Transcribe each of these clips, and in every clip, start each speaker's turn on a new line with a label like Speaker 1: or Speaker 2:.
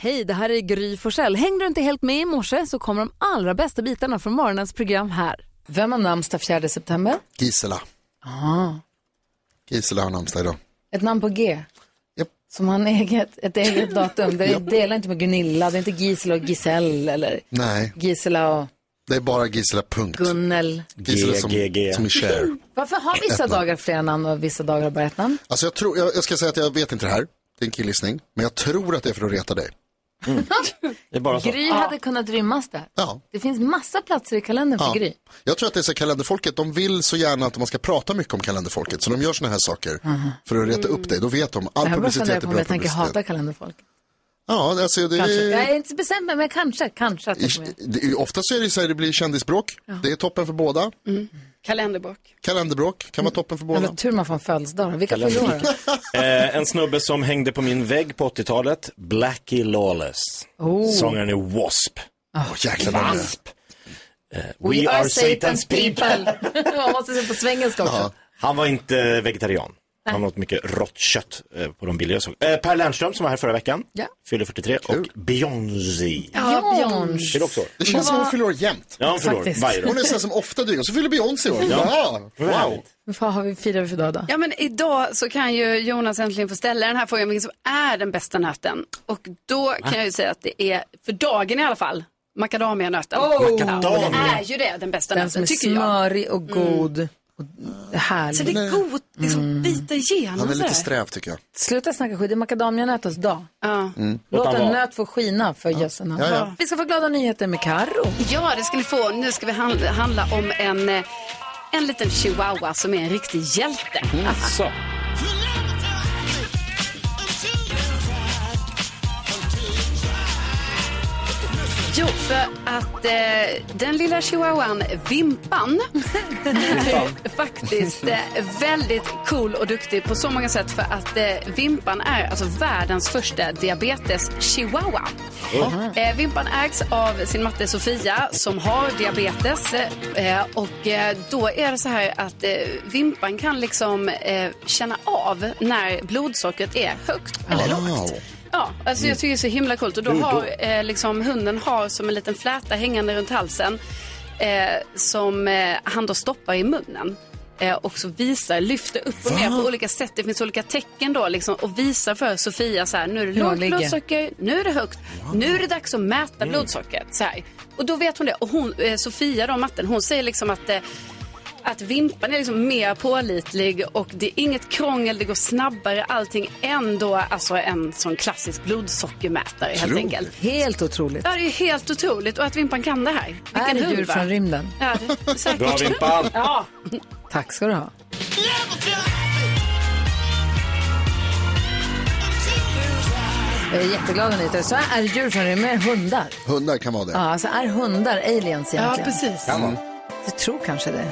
Speaker 1: Hej, det här är Gry Forssell. Hängde du inte helt med i morse så kommer de allra bästa bitarna från morgonens program här.
Speaker 2: Vem har namnsdag 4 september?
Speaker 3: Gisela.
Speaker 2: Ah,
Speaker 3: Gisela har namnsdag idag.
Speaker 2: ett namn på G.
Speaker 3: Japp.
Speaker 2: Som har en eget, ett eget datum. Det delar inte med Gunilla, det är inte Gisela och Gisell eller
Speaker 3: Nej,
Speaker 2: Gisela och
Speaker 3: det är bara Gisela, punkt.
Speaker 2: Gunnel.
Speaker 3: Gisela som,
Speaker 4: GGG.
Speaker 3: som är Cher.
Speaker 2: Varför har vissa dagar flera namn och vissa dagar bara ett namn?
Speaker 3: Alltså jag tror, jag, jag ska säga att jag vet inte det här. Det är en killgissning. Men jag tror att det är för att reta dig.
Speaker 4: Det är bara så.
Speaker 2: Gry hade kunnat rymmas där.
Speaker 3: Alltså, Ja.
Speaker 2: Det finns massa platser i kalendern för
Speaker 3: Ja.
Speaker 2: Gry.
Speaker 3: Jag tror att det är så här, kalenderfolket, de vill så gärna att man ska prata mycket om kalenderfolket. Så de gör såna här saker för att reta upp dig. Då vet de,
Speaker 2: Mhm.
Speaker 3: all
Speaker 2: Jag här börjar
Speaker 3: publicitet
Speaker 2: fundera
Speaker 3: är
Speaker 2: på
Speaker 3: bra
Speaker 2: om jag tänker
Speaker 3: publicitet.
Speaker 2: hata kalenderfolk.
Speaker 3: Ja, alltså det
Speaker 2: Kanske. Jag
Speaker 3: är...
Speaker 2: är inte så bestämd men men kanske, kanske att jag kommer göra det.
Speaker 3: det är- Ofta så är det så här, det blir kändisbråk. Det är toppen för båda.
Speaker 5: Kalenderbok.
Speaker 3: Kalenderbråk kan vara toppen för
Speaker 2: Mm. Ja,
Speaker 3: båda.
Speaker 2: men tur man får en födelsedag. Vilka förlorar?
Speaker 4: Eh, en snubbe som hängde på min vägg på 80-talet, Blackie Lawless.
Speaker 2: Oh.
Speaker 4: Sångaren i Wasp.
Speaker 3: Åh, jäklar vad det är.
Speaker 4: Wasp! Eh, we are Satan's people.
Speaker 2: man måste se på svengelska också.
Speaker 3: Ja.
Speaker 4: Han var inte vegetarian. Han åt mycket rått kött eh, på de bilder jag såg. Eh, Per Lernström som var här förra veckan,
Speaker 2: Ja.
Speaker 4: fyller 43
Speaker 3: Kul.
Speaker 4: och Beyoncé.
Speaker 2: Björn.
Speaker 4: Fyller också år.
Speaker 3: Det känns som hon fyller år jämt.
Speaker 4: Ja, hon fyller år
Speaker 2: Faktiskt.
Speaker 4: varje år.
Speaker 3: Hon är sån som ofta dyker, så fyller Beyoncé år. Ja.
Speaker 4: Ja.
Speaker 3: Wow.
Speaker 2: Vad har vi firar vi för dag då?
Speaker 5: Ja, men idag så kan ju Jonas äntligen få ställa den här frågan, vilken som är den bästa nöten? Och då kan jag ju säga att det är, för dagen i alla fall, macadamianöten. Ja, det
Speaker 4: Macadamia.
Speaker 5: är ju det, den bästa
Speaker 2: Den som är
Speaker 5: nöten, tycker jag. Mm.
Speaker 2: smörig och god och
Speaker 5: Så
Speaker 2: härlig.
Speaker 5: det är god,
Speaker 2: Mm.
Speaker 5: liksom bita igenom
Speaker 3: Han är lite
Speaker 5: sådär.
Speaker 3: sträv tycker jag.
Speaker 2: Sluta snacka skit, det är macadamianötens dag.
Speaker 5: ja.
Speaker 4: Låt
Speaker 2: Låt
Speaker 4: han
Speaker 2: en
Speaker 4: vara.
Speaker 2: nöt få skina för gössen.
Speaker 3: Ja, ja.
Speaker 2: Vi ska få glada nyheter med Karo.
Speaker 5: ja, det ska ni få. Nu ska vi handla, handla om en, eh, en liten chihuahua som är en riktig hjälte.
Speaker 4: Så.
Speaker 5: Jo, för att eh, den lilla chihuahuan Vimpan är faktiskt eh, väldigt cool och duktig på så många sätt för att eh, Vimpan är alltså världens första diabetes-chihuahua. Eh, Vimpan ägs av sin matte Sofia som har diabetes eh, och eh, då är det så här att eh, Vimpan kan liksom eh, känna av när blodsockret är högt eller
Speaker 3: Wow.
Speaker 5: Ja, alltså jag tycker det är så himla coolt. Och då har eh, liksom, hunden har som en liten fläta hängande runt halsen eh, som eh, han då stoppar i munnen. Eh, och så visar, lyfter upp och ner på olika sätt. Det finns olika tecken då liksom, och visar för Sofia så här, nu är det
Speaker 2: han
Speaker 5: lågt
Speaker 2: ligger.
Speaker 5: blodsocker, nu är det högt, nu är det dags att mäta blodsockret. Så här. Och då vet hon det. Och hon, eh, Sofia då, matten, hon säger liksom att eh, att vimpan är liksom mer pålitlig och det är inget krångel, det går snabbare allting än då alltså en sån klassisk blodsockermätare helt
Speaker 3: Otroligt.
Speaker 5: enkelt.
Speaker 2: Helt otroligt.
Speaker 5: Ja, det är helt otroligt och att vimpan kan det här.
Speaker 2: Är
Speaker 5: Vilken
Speaker 2: det djur
Speaker 5: hund, va?
Speaker 2: från rymden?
Speaker 5: Ja, det är säkert.
Speaker 4: Bra Vimpan!
Speaker 5: Ja,
Speaker 2: Tack ska du ha. Jag är jätteglad Anita. Så är djur från rymden, är hundar.
Speaker 3: Hundar kan vara det.
Speaker 2: Ja, alltså är hundar aliens egentligen?
Speaker 5: ja precis.
Speaker 2: Jag tror kanske det.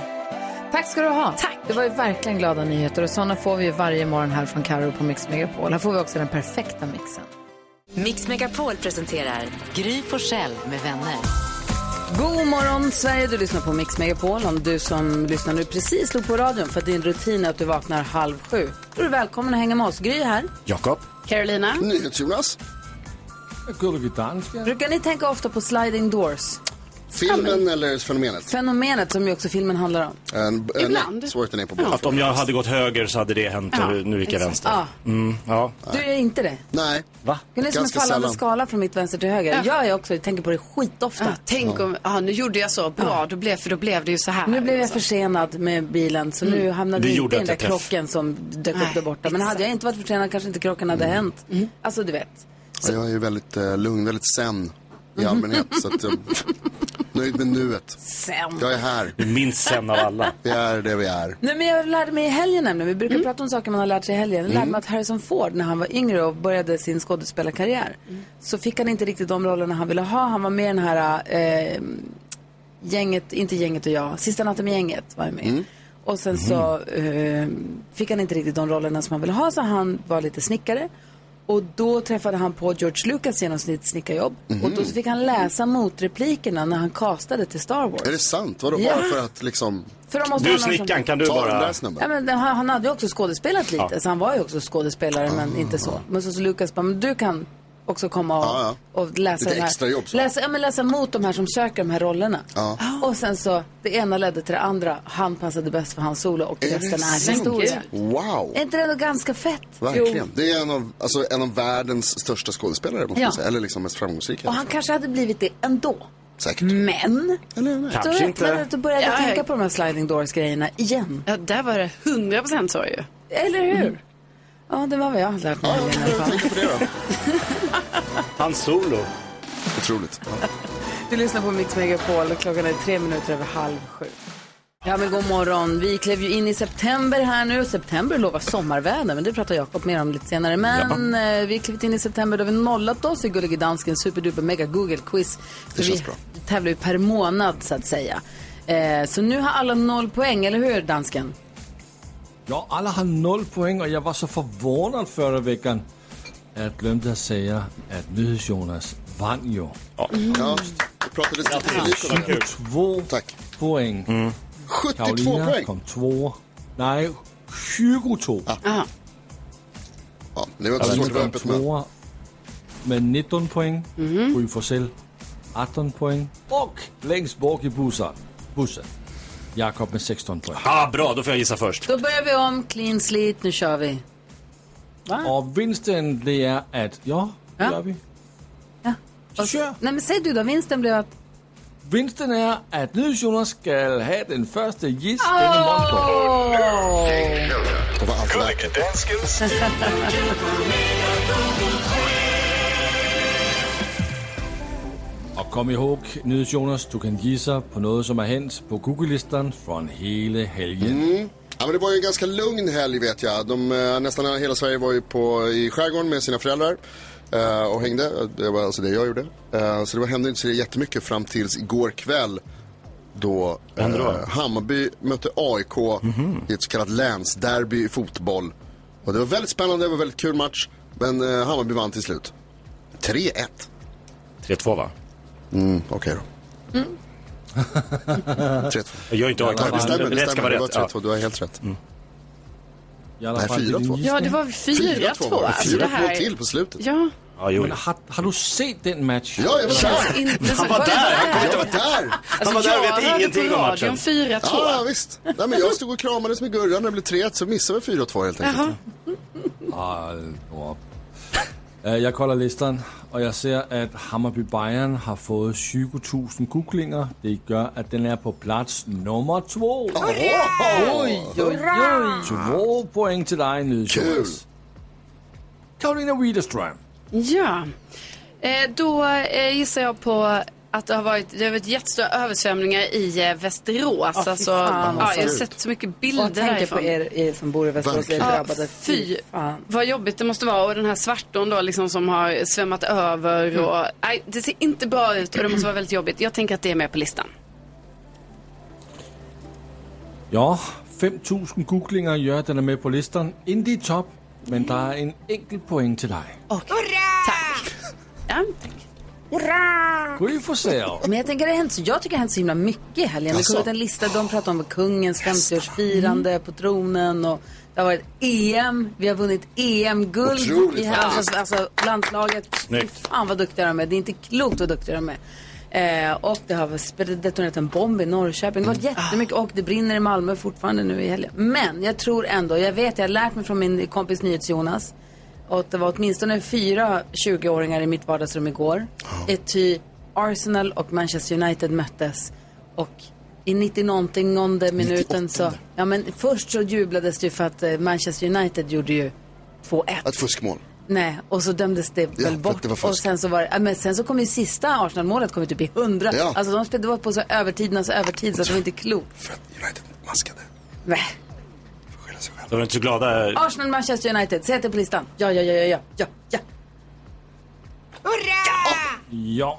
Speaker 2: Tack ska du ha.
Speaker 5: Tack.
Speaker 2: Det var ju verkligen glada nyheter och sådana får vi ju varje morgon här från Karo på Mix Megapol. Här får vi också den perfekta mixen.
Speaker 6: Mix Megapol presenterar Gry Forssell med vänner.
Speaker 2: God morgon Sverige, du lyssnar på Mix Megapol. Om du som lyssnar nu precis slog på radion för att din rutin är att du vaknar halv sju. Då är du välkommen att hänga med oss. Gry här.
Speaker 4: Jakob.
Speaker 5: Carolina,
Speaker 4: Mm.
Speaker 3: NyhetsJonas.
Speaker 2: Brukar ni tänka ofta på sliding doors?
Speaker 3: Filmen eller fenomenet?
Speaker 2: Fenomenet som ju också filmen handlar om.
Speaker 3: En, en,
Speaker 5: Ibland.
Speaker 3: Svårt den är på båda.
Speaker 4: Att om jag hade gått höger så hade det hänt och nu gick jag vänster.
Speaker 2: Ja.
Speaker 4: Mm, ja.
Speaker 2: Du gör inte det.
Speaker 3: Nej.
Speaker 4: Va?
Speaker 2: Det är som en
Speaker 3: Ganska
Speaker 2: fallande
Speaker 3: sällan.
Speaker 2: skala från mitt vänster till höger. Jag är också, jag tänker på det skitofta.
Speaker 5: ja, tänk om, ja, nu gjorde jag så, bra, då blev, för då blev det ju så här.
Speaker 2: Nu blev jag försenad med bilen så nu hamnade
Speaker 4: Det
Speaker 2: vi inte
Speaker 4: gjorde
Speaker 2: i den där
Speaker 4: att jag träff-
Speaker 2: krocken som dök upp
Speaker 5: Nej, Mm.
Speaker 2: där borta. Men hade jag inte varit försenad kanske inte krocken
Speaker 4: Mm.
Speaker 2: hade hänt. Alltså du vet.
Speaker 3: Ja, jag är ju väldigt eh, lugn, väldigt zen i
Speaker 2: Mhm.
Speaker 3: allmänhet. så att, eh, nöjd med nuet.
Speaker 2: Sen.
Speaker 3: Jag är här.
Speaker 4: Minst sen av alla.
Speaker 3: Vi är det vi är.
Speaker 2: Nej, men jag lärde mig i helgen nämligen. Vi brukar prata om saker man har lärt sig i helgen. Jag lärde mig att Harrison Ford, när han var yngre och började sin skådespelarkarriär, så fick han inte riktigt de rollerna han ville ha. Han var med i den här eh, gänget, inte gänget och jag, Sista natten med gänget var jag med. Och sen så eh, fick han inte riktigt de rollerna som han ville ha, så han var lite snickare. Och då träffade han på George Lucas genom sitt snickarjobb. Och då så fick han läsa motreplikerna när han castade till Star Wars.
Speaker 3: Är det sant? Vadå?
Speaker 2: Ja.
Speaker 3: Bara för att liksom
Speaker 2: För de måste ha någon
Speaker 4: Du
Speaker 2: som-
Speaker 4: snickaren, kan du
Speaker 3: ta den där
Speaker 4: bara...
Speaker 2: Ja,
Speaker 3: snubben?
Speaker 2: men han, han
Speaker 3: Mm.
Speaker 2: hade ju också skådespelat lite, så han var ju också skådespelare, men inte så. Men så, så Lukas bara, men du kan också komma och,
Speaker 3: Ja,
Speaker 2: och läsa,
Speaker 3: Lite
Speaker 2: de här,
Speaker 3: extra jobb så.
Speaker 2: läsa, ja, men läsa mot de här som söker de här rollerna.
Speaker 3: Ja.
Speaker 2: Och sen så, det ena ledde till det andra. Han passade bäst för hans solo och
Speaker 3: Är det
Speaker 2: resten är
Speaker 3: sant?
Speaker 2: historia.
Speaker 3: Wow.
Speaker 2: Är inte det ändå ganska fett?
Speaker 3: Verkligen. Det är en av, alltså, en av världens största skådespelare, måste
Speaker 2: Ja.
Speaker 3: man säga. Eller liksom mest framgångsrika.
Speaker 2: Och han kanske hade blivit det ändå.
Speaker 3: Säkert.
Speaker 2: Mm. Men,
Speaker 3: Eller nej.
Speaker 2: då
Speaker 4: Kanske
Speaker 2: räknade
Speaker 4: inte.
Speaker 2: att du började
Speaker 5: Ja,
Speaker 2: tänka
Speaker 5: ja.
Speaker 2: på de här sliding doors-grejerna igen.
Speaker 5: Ja, där var det 100 procent så ju.
Speaker 2: Eller hur? Ja, det var vad jag hade lärt mig.
Speaker 3: Ja, jag börjar tänka på det då.
Speaker 4: Hans solo.
Speaker 3: Otroligt. Ja.
Speaker 2: Du lyssnar på Mix Megapol och klockan är tre minuter över halv sju. Ja men god morgon. Vi klev ju in i september här nu. September lovar sommarväder men det pratar Jakob mer om lite senare. Men eh, vi har klivit in i september då vi nollat oss i Gullige Dansken superduper mega Google quiz. För
Speaker 3: känns
Speaker 2: vi
Speaker 3: bra.
Speaker 2: tävlar ju per månad så att säga. Eh, så nu har alla noll poäng, eller hur dansken?
Speaker 7: Ja, alla har noll poäng och jag var så förvånad förra veckan att jag glömde att säga att Nyhets-Jonas vann ju.
Speaker 3: Ja, vi pratade lite för lite om det.
Speaker 4: Kul.
Speaker 7: Två
Speaker 3: Tack.
Speaker 7: poäng.
Speaker 3: 72
Speaker 7: Karolina
Speaker 3: poäng.
Speaker 7: kom två. Nej, 22.
Speaker 3: Ja, Ah, det var inte så svårt
Speaker 7: Karolina
Speaker 3: att vara
Speaker 7: kom
Speaker 3: öppet med.
Speaker 7: tvåa med 19 poäng.
Speaker 2: Mhm.
Speaker 7: Gry Forssell 18 poäng. Och längst bak i bussen, bussen Jakob med 16 poäng.
Speaker 4: Ah, bra, då får jag gissa först.
Speaker 2: Då börjar vi om, clean sleet, nu kör vi.
Speaker 7: Och vinsten det är att, ja, det
Speaker 2: Ah. Ja.
Speaker 7: gör vi.
Speaker 2: Ja.
Speaker 7: Så kör.
Speaker 2: Nej men säg du då, vinsten blev att...
Speaker 7: Vinsten är att Nyhets-Jonas ska ha den första giss denna måndag.
Speaker 3: Det var allt värt.
Speaker 7: Och kom ihåg, Nyhets-Jonas, du kan gissa på något som har hänt på Google-listan från hela helgen.
Speaker 3: Ja, men det var ju en ganska lugn helg vet jag. De, eh, nästan hela Sverige var ju på, i skärgården med sina föräldrar eh, och hängde. Det var alltså det jag gjorde. Eh, så det var, hände inte så jättemycket fram tills igår kväll då
Speaker 4: Hände
Speaker 3: eh,
Speaker 4: då? Mhm.
Speaker 3: Hammarby mötte AIK i ett så kallat länsderby i fotboll. Och det var väldigt spännande, det var en väldigt kul match. Men eh, Hammarby vann till slut. 3-1.
Speaker 4: 3-2 va?
Speaker 3: Mm, Okej då. 3-2.
Speaker 4: Jag gör inte AIK.
Speaker 3: Ja, det stämmer, det
Speaker 4: Rätt ska
Speaker 3: stämmer. Det
Speaker 4: vara
Speaker 3: var
Speaker 4: rätt. Ja.
Speaker 3: 3-2, du har helt rätt.
Speaker 7: I alla
Speaker 3: Nej,
Speaker 7: fall,
Speaker 3: fyra,
Speaker 7: det är
Speaker 3: två.
Speaker 7: din
Speaker 5: Ja,
Speaker 7: gissning.
Speaker 5: det var
Speaker 3: 4-2
Speaker 5: 4-2.
Speaker 3: var det.
Speaker 5: Alltså, det
Speaker 3: 4-2
Speaker 5: här
Speaker 3: till på slutet.
Speaker 5: Ja,
Speaker 4: Ja, jo.
Speaker 7: Men har, har du sett den matchen?
Speaker 3: Ja, jag var där!
Speaker 5: inte så...
Speaker 4: Han var där, han kommer inte vara där. Han var där och
Speaker 5: jag
Speaker 4: vet
Speaker 5: hörde
Speaker 4: ingenting
Speaker 5: på
Speaker 4: om
Speaker 5: radion
Speaker 4: matchen.
Speaker 5: 4-2.
Speaker 3: Ja, visst. Nej, men jag stod och kramades med Gurra när det blev 3-1 så missade vi 4-2 helt enkelt.
Speaker 7: Ah, op. Øh, Jeg kolder listeren, og jeg ser, at Hammarby Bayern har fået 20.000 googlinger. Det gør, at den er på plads nummer to. To point til dig, Nydes Jonas. Karolina Widerström.
Speaker 5: Ja, eh, då eh, gissar jag på att det har varit, det har varit jättstora översvämningar i eh, Västerås.
Speaker 2: fy
Speaker 5: alltså,
Speaker 2: fan,
Speaker 5: ja,
Speaker 2: vad
Speaker 5: jag har
Speaker 3: sjukt.
Speaker 5: sett så mycket
Speaker 2: Och
Speaker 5: bilder
Speaker 2: jag tänker på
Speaker 5: därifrån.
Speaker 2: er, er som bor i Västerås, er
Speaker 3: Verkligen.
Speaker 2: drabbade.
Speaker 5: Fy
Speaker 2: fan.
Speaker 5: vad jobbigt det måste vara och den här svartån då liksom som har svämmat
Speaker 2: Mm.
Speaker 5: över och nej, det ser inte bra ut och det måste vara väldigt jobbigt. Jag tänker att det är med på listan.
Speaker 7: Ja, 5.000 googlinger gør, at den er med på listeren. Inde i top, men der er en enkelt point til dig.
Speaker 5: Ja,
Speaker 7: Gry Forssell.
Speaker 2: Men jag tänker, det har hänt, så- jag tycker det har hänt så himla mycket i helgen. Det
Speaker 3: Jaså? Mm.
Speaker 2: kom ut en lista, de pratade om kungens 50-årsfirande på tronen och det har varit EM, vi har vunnit EM-guld
Speaker 3: Otroligt
Speaker 2: i helgen.
Speaker 3: faktiskt.
Speaker 2: Alltså, alltså landslaget, fy
Speaker 4: Snyggt.
Speaker 2: fan vad duktiga de är. Det är inte klokt vad duktiga de är. Eh, och det har spr- detonerat en bomb i Norrköping. Det har varit jättemycket och det brinner i Malmö fortfarande nu i helgen. Men jag tror ändå, jag vet, jag har lärt mig från min kompis NyhetsJonas och att det var åtminstone fyra 20-åringar i mitt vardagsrum igår. Ety Arsenal och Manchester United möttes och i 90 någonting minuten så, ja men först så jublades det ju för att eh, Manchester United gjorde ju 2-1.
Speaker 3: Ett fuskmål.
Speaker 2: Nej, och så dömdes det väl
Speaker 3: för att
Speaker 2: bort.
Speaker 3: det var fusk.
Speaker 2: och sen så var det, ja, men sen så kom ju sista Arsenal-målet kom ju typ i hundra.
Speaker 3: Ja.
Speaker 2: Alltså de spelade det var på så övertidernas övertid så att det var inte klokt.
Speaker 3: För att United maskade.
Speaker 2: Nej.
Speaker 3: Får skylla sig själv.
Speaker 4: De var inte så glada.
Speaker 2: Arsenal, Manchester United, sätt det på listan. Ja, ja, ja, ja, ja, ja, ja.
Speaker 7: Ja.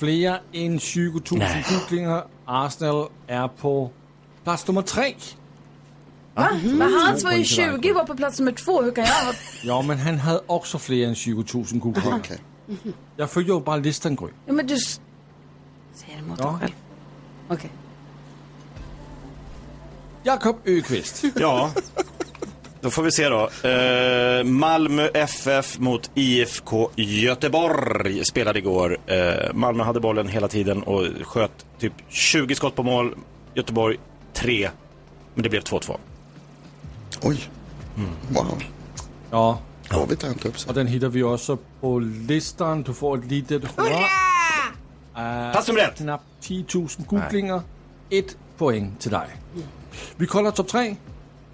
Speaker 7: Flere end 20.000 googlinger. Arsenal er på plads nummer 3.
Speaker 2: Va? Men hans var ju
Speaker 7: Två poäng till
Speaker 2: 20 var på plats nummer två. Hur kan jag?
Speaker 7: Ja, men han havde også flere end 20.000 googlinger.
Speaker 3: Okej.
Speaker 7: Jeg følger jo bare listen, Gry.
Speaker 2: Ja, men du... s- Säger emot dig
Speaker 7: Ja.
Speaker 2: själv. Okej.
Speaker 7: Jakob Økvist.
Speaker 4: Ja, Då får vi se då. Eh, Malmö FF mot IFK Göteborg spelade igår. Eh, Malmö hade bollen hela tiden och sköt typ 20 skott på mål. Göteborg 3. Men det blev 2-2.
Speaker 3: Oj. Wow.
Speaker 7: Ja,
Speaker 3: Har vi tajmat upp sig?
Speaker 7: og den hitter vi også på listeren. Du får lige det, du hører.
Speaker 4: Pass nummer ett.
Speaker 7: Knap 10.000 googlinger. Et point til dig. Vi kolder top 3.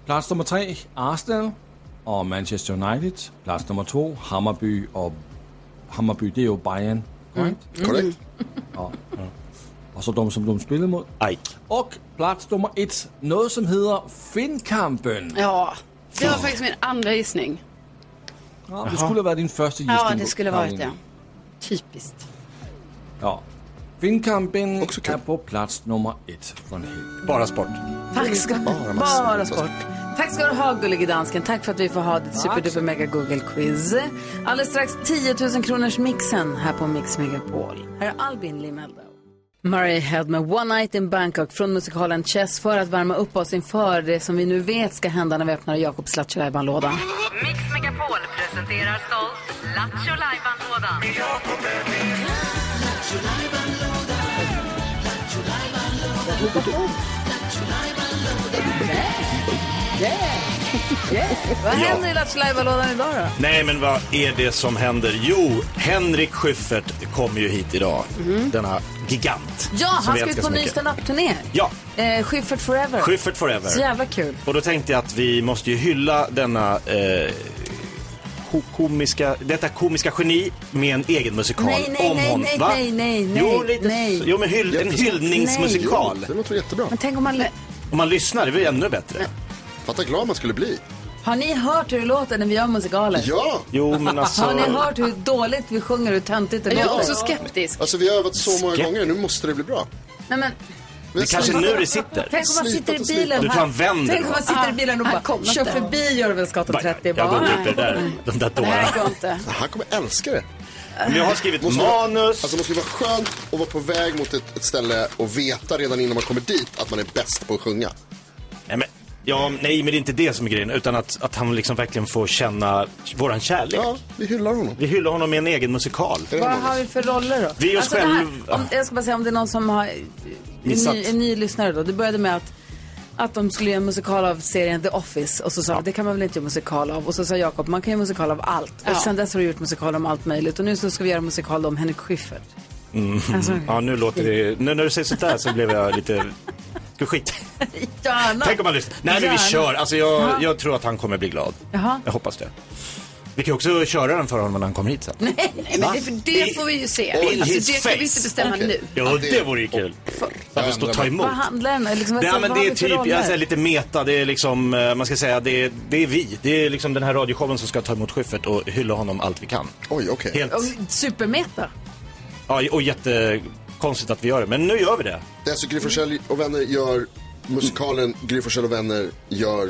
Speaker 7: Plads nummer 3, Arsenal og Manchester United. Plads nummer 2, Hammerby og... Hammerby, det er jo Bayern. Korrekt?
Speaker 3: Korrekt.
Speaker 7: Og så dum som dum spillet mod.
Speaker 4: Ike.
Speaker 7: Og plads nummer 1, noget som hedder Finnkampen.
Speaker 5: Ja, det var faktiskt min andra gissning.
Speaker 7: Ja, det skulle have været din første gissning.
Speaker 5: Ja, det skulle varit
Speaker 7: Karoline.
Speaker 5: det. Typiskt.
Speaker 7: Ja. Vindkampen
Speaker 3: Också kul.
Speaker 7: är på plats nummer ett från Helge.
Speaker 4: Bara sport.
Speaker 2: Tack ska
Speaker 3: Bara massor.
Speaker 2: Bara sport. Tack ska du ha, gullige dansken. Tack för att vi får ha ditt superduper mega Google-quiz. Alldeles strax 10 000 kronors mixen här på Mix Megapol. Här är Albin Limelda. Murray Head med One Night in Bangkok från musikalen Chess för att värma upp oss inför det som vi nu vet ska hända när vi öppnar Jakobs Lattjo lådan
Speaker 8: Mix Megapol presenterar stolt Lattjo Lajban-lådan.
Speaker 2: Vad händer i Lattjo lådan idag då?
Speaker 4: Nej, men vad är det som händer? Jo, Henrik Schyffert kom ju hit idag. Denna gigant.
Speaker 2: Mm. Ja,
Speaker 4: som
Speaker 2: han
Speaker 4: vi
Speaker 2: ska
Speaker 4: älskar
Speaker 2: ut
Speaker 4: så
Speaker 2: på ny
Speaker 4: mycket.
Speaker 2: standup-turné.
Speaker 4: Ja,
Speaker 2: Eh, Schyffert Forever.
Speaker 4: Schyffert forever.
Speaker 2: Så jävla kul.
Speaker 4: Och då tänkte jag att vi måste ju hylla denna eh, ko- komiska, detta komiska geni med en egen musikal
Speaker 2: Nej, nej,
Speaker 4: om
Speaker 2: nej,
Speaker 4: honom.
Speaker 2: nej,
Speaker 4: Va?
Speaker 2: nej, nej, nej,
Speaker 4: jo, lite,
Speaker 2: nej.
Speaker 4: Jo, men hyll, en
Speaker 3: Jättesnabbt.
Speaker 4: hyllningsmusikal.
Speaker 3: Det låter jättebra.
Speaker 2: Men tänk om man...
Speaker 4: Om man lyssnar, det blir ännu bättre.
Speaker 3: Fatta glad man skulle bli.
Speaker 2: Har ni hört hur det låter när vi gör musikaler?
Speaker 3: Ja!
Speaker 4: Jo, men
Speaker 2: Har ni
Speaker 4: alltså...
Speaker 2: hört hur dåligt vi sjunger, hur töntigt det
Speaker 5: Jag är
Speaker 2: låter?
Speaker 5: också skeptisk.
Speaker 3: Alltså vi har övat så många
Speaker 4: Skep-
Speaker 3: gånger, nu måste det bli bra.
Speaker 2: Nej, men,
Speaker 3: Vi har
Speaker 4: Det kanske är
Speaker 3: slitit-
Speaker 4: nu det sitter.
Speaker 2: tänk om man
Speaker 3: Slipat
Speaker 2: sitter i
Speaker 3: och slipat.
Speaker 2: bilen
Speaker 4: Du tar en vänd
Speaker 2: Tänk om man sitter i bilen och
Speaker 5: Ah,
Speaker 2: bara
Speaker 5: här kom
Speaker 2: kör
Speaker 5: det.
Speaker 2: förbi Görvelsgatan 30
Speaker 4: Jag
Speaker 2: bara.
Speaker 4: går upp i det där, de där
Speaker 5: Det
Speaker 4: dårarna.
Speaker 5: här går inte.
Speaker 3: Han kommer älska det.
Speaker 4: Men Jag har skrivit
Speaker 3: Måste-
Speaker 4: manus.
Speaker 3: Alltså det måste ju vara skönt att vara på väg mot ett, ett ställe och veta redan innan man kommer dit att man är bäst på att sjunga.
Speaker 4: Nej, men, ja, nej, men det är inte det som är grejen, utan att, att han liksom verkligen får känna våran kärlek.
Speaker 3: Ja, vi hyllar honom.
Speaker 4: Vi hyllar honom med en egen musikal.
Speaker 3: Är det
Speaker 2: Vad
Speaker 3: manus?
Speaker 2: har vi för roller då? Alltså,
Speaker 4: Vi är oss
Speaker 2: det
Speaker 4: själva.
Speaker 2: Här, om, jag ska bara säga om det är någon som har... En
Speaker 4: Missat.
Speaker 2: ny, en ny lyssnare då. Det började med att, att de skulle göra en musikal av serien The Office. Och så sa vi, det kan man väl inte göra musikal av. Och så sa Jakob, man kan göra musikal av allt.
Speaker 5: Ja.
Speaker 2: Och sen dess har du gjort musikal om allt möjligt. Och nu så ska vi göra musikal om Henrik Schyffert. Alltså,
Speaker 4: Mm. Ja, nu låter det... Nu när du säger sådär så blev jag lite... Ska skit.
Speaker 2: gärna.
Speaker 4: Tänk om man lyssnar. Nej, men vi
Speaker 2: Gärna.
Speaker 4: kör. Alltså, jag, jag tror att han kommer bli glad.
Speaker 2: Jaha.
Speaker 4: Jag hoppas det. Vi kan ju också köra den för honom när han kommer hit sen.
Speaker 5: Nej, men det, för det får vi ju se.
Speaker 4: In
Speaker 5: Alltså, det
Speaker 4: his
Speaker 5: ska vi inte
Speaker 4: face.
Speaker 5: bestämma
Speaker 3: Okej.
Speaker 5: nu.
Speaker 4: Ja, det vore ju kul. Varför stå och ta emot?
Speaker 2: Vad handlar den om? liksom,
Speaker 4: Nej,
Speaker 2: alltså,
Speaker 4: men
Speaker 2: vad
Speaker 4: det
Speaker 2: har
Speaker 4: är
Speaker 2: vi för
Speaker 4: typ,
Speaker 2: roller?
Speaker 4: jag säger lite meta, det är liksom, eh, man ska säga, det är, det är vi. Det är liksom den här radioshowen som ska ta emot Schyffert och hylla honom allt vi kan.
Speaker 3: Oj, okej.
Speaker 4: Helt,
Speaker 2: Och Supermeta.
Speaker 4: ja, och jättekonstigt att vi gör det, men nu gör vi det.
Speaker 3: Det är alltså Gry Forssell och vänner gör musikalen Gry Forssell och vänner gör,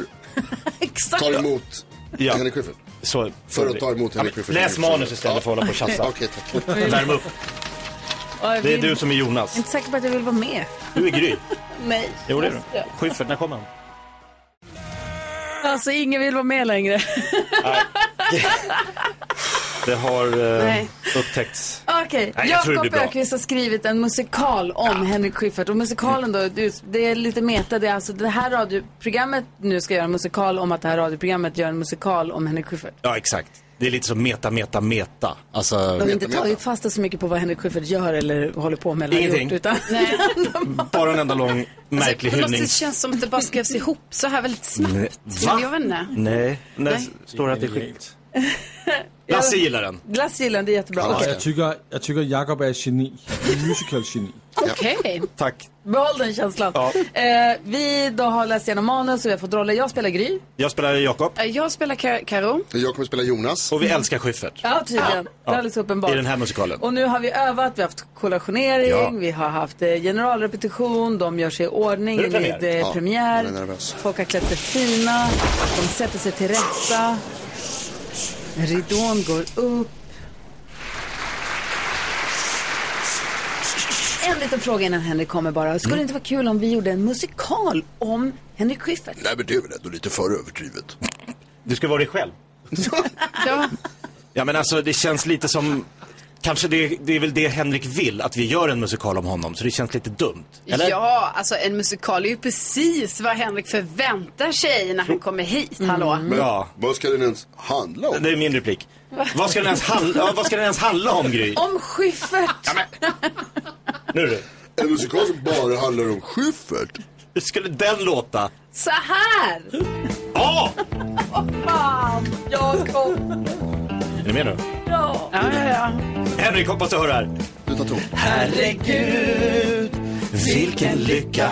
Speaker 2: Exakt.
Speaker 3: tar emot
Speaker 4: Ja.
Speaker 3: Henrik Schyffert.
Speaker 4: Så,
Speaker 3: För att ta emot Henrik
Speaker 4: men
Speaker 3: Schyffert.
Speaker 4: Läs manus istället för att hålla på och
Speaker 3: Ja,
Speaker 4: tjafsa.
Speaker 3: Okej, tack.
Speaker 4: Värm upp.
Speaker 2: Ja, jag
Speaker 4: Det är
Speaker 2: vill-
Speaker 4: du som är Jonas.
Speaker 2: inte säker på att jag vill vara med.
Speaker 4: Du är Gry.
Speaker 2: Nej.
Speaker 4: Jo, det är du. Schyffert, när kommer han?
Speaker 2: Alltså ingen vill vara med längre.
Speaker 4: Det har eh,
Speaker 5: Nej.
Speaker 4: upptäckts.
Speaker 2: Okej,
Speaker 4: Nej, jag tror det
Speaker 2: Jakob
Speaker 4: blir bra.
Speaker 2: Ökvist har skrivit en musikal om Henrik Schyffert. Och musikalen då, det- det är lite meta. Det är alltså det här radioprogrammet nu ska göra en musikal om att det här radioprogrammet gör en musikal om Henrik Schyffert.
Speaker 4: Ja, exakt. Det är lite som meta, meta, meta. Alltså,
Speaker 2: De har inte tagit fasta så mycket på vad Henrik Schyffert gör eller håller på med. Eller har
Speaker 4: Ingenting.
Speaker 2: Gjort, utan...
Speaker 5: Nej.
Speaker 4: bara en enda lång märklig
Speaker 5: På något
Speaker 4: hyllning.
Speaker 5: sätt känns det som att det bara skrevs ihop så här väldigt
Speaker 4: Nej,
Speaker 5: snabbt.
Speaker 4: Mm. va?
Speaker 5: Jag vet inte.
Speaker 4: Nej, där
Speaker 5: Nej.
Speaker 4: står det att det är Schyffert.
Speaker 7: Genialt.
Speaker 4: Lasse gillar den.
Speaker 2: Glass gillar han, det är jättebra.
Speaker 3: Ja.
Speaker 2: Okej.
Speaker 7: Jeg tykker, jeg tykker Jakob er et geni. En musical geni.
Speaker 5: Okej.
Speaker 4: Tack.
Speaker 2: Behåll den känslan.
Speaker 4: Ja.
Speaker 2: Eh, vi då har läst igenom manus och vi har fått roller. Jag spelar Gry.
Speaker 4: Jag spelar Jakob
Speaker 5: Eh, Jag spelar Kar- Karo.
Speaker 3: Jag kommer spela Jonas.
Speaker 4: och vi älskar Schyffert.
Speaker 2: Ja, tydligen. Det är alldeles uppenbart.
Speaker 4: I den här musikalen.
Speaker 2: Och nu har vi övat, vi har haft kollationering,
Speaker 4: Ja.
Speaker 2: vi har haft eh, generalrepetition, de gör sig i ordning
Speaker 4: Nu är det
Speaker 2: vid
Speaker 4: premiär.
Speaker 2: eh,
Speaker 3: Ja,
Speaker 2: premiär.
Speaker 3: man är nervös.
Speaker 2: Folk har klätt sig fina, de sätter sig till rätta. Ridån går upp. En liten fråga innan Henrik kommer bara.
Speaker 4: Mm.
Speaker 2: Skulle det inte vara kul om vi gjorde en musikal om Henrik Schyffert?
Speaker 3: Nej, men det är väl ändå lite för överdrivet.
Speaker 4: Du ska vara dig själv.
Speaker 5: Ja.
Speaker 4: Ja men alltså det känns lite som, kanske det, det är väl det Henrik vill, att vi gör en musikal om honom. Så det känns lite dumt. Eller?
Speaker 5: ja, alltså en musikal är ju precis vad Henrik förväntar sig när han kommer hit. Hallå?
Speaker 4: Ja.
Speaker 3: Vad ska den ens handla om?
Speaker 4: Det är min replik. Vad ska den ens handla, ja, vad ska den ens handla om Gry?
Speaker 2: Om Schyffert!
Speaker 4: Nu du.
Speaker 3: En musikal som bara handlar om Schyffert?
Speaker 4: Hur skulle den låta?
Speaker 5: Så här!
Speaker 4: Ja! Är ni med nu?
Speaker 5: Ja, ja, ja.
Speaker 4: Henrik, hoppas du hör det här.
Speaker 3: Du tar ton.
Speaker 4: Herregud, vilken lycka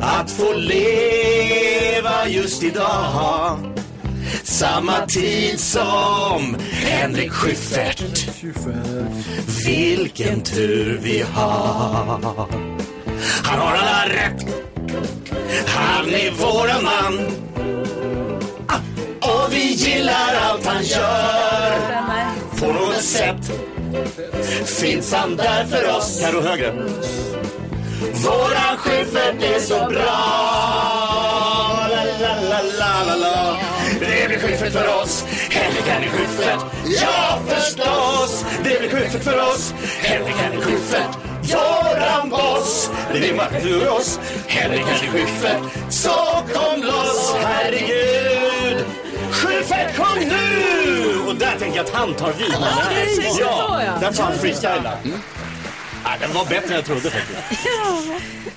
Speaker 4: att få leva just idag. Samma tid som Henrik Schyffert. Vilken tur vi har. Han har alla rätt. Han är våran man. Ah, Och vi gillar allt han gör. På något sätt finns han där för oss. Här och högre. Våran Schyffert är så bra. La, la, la, la, la, la. Det blir Schyffert för oss. Henrik han är Schyffert. Ja, förstås. Det blir Schyffert för oss. Henrik han är Schyffert. Våran boss. Det blir Marcus ur oss. Henrik han är Schyffert. Så kom loss, herregud. Schyffert, kom nu! Och där tänker jag att han tar vid. Ja, där får han freestyla. Ja, den var bättre än jag trodde faktiskt.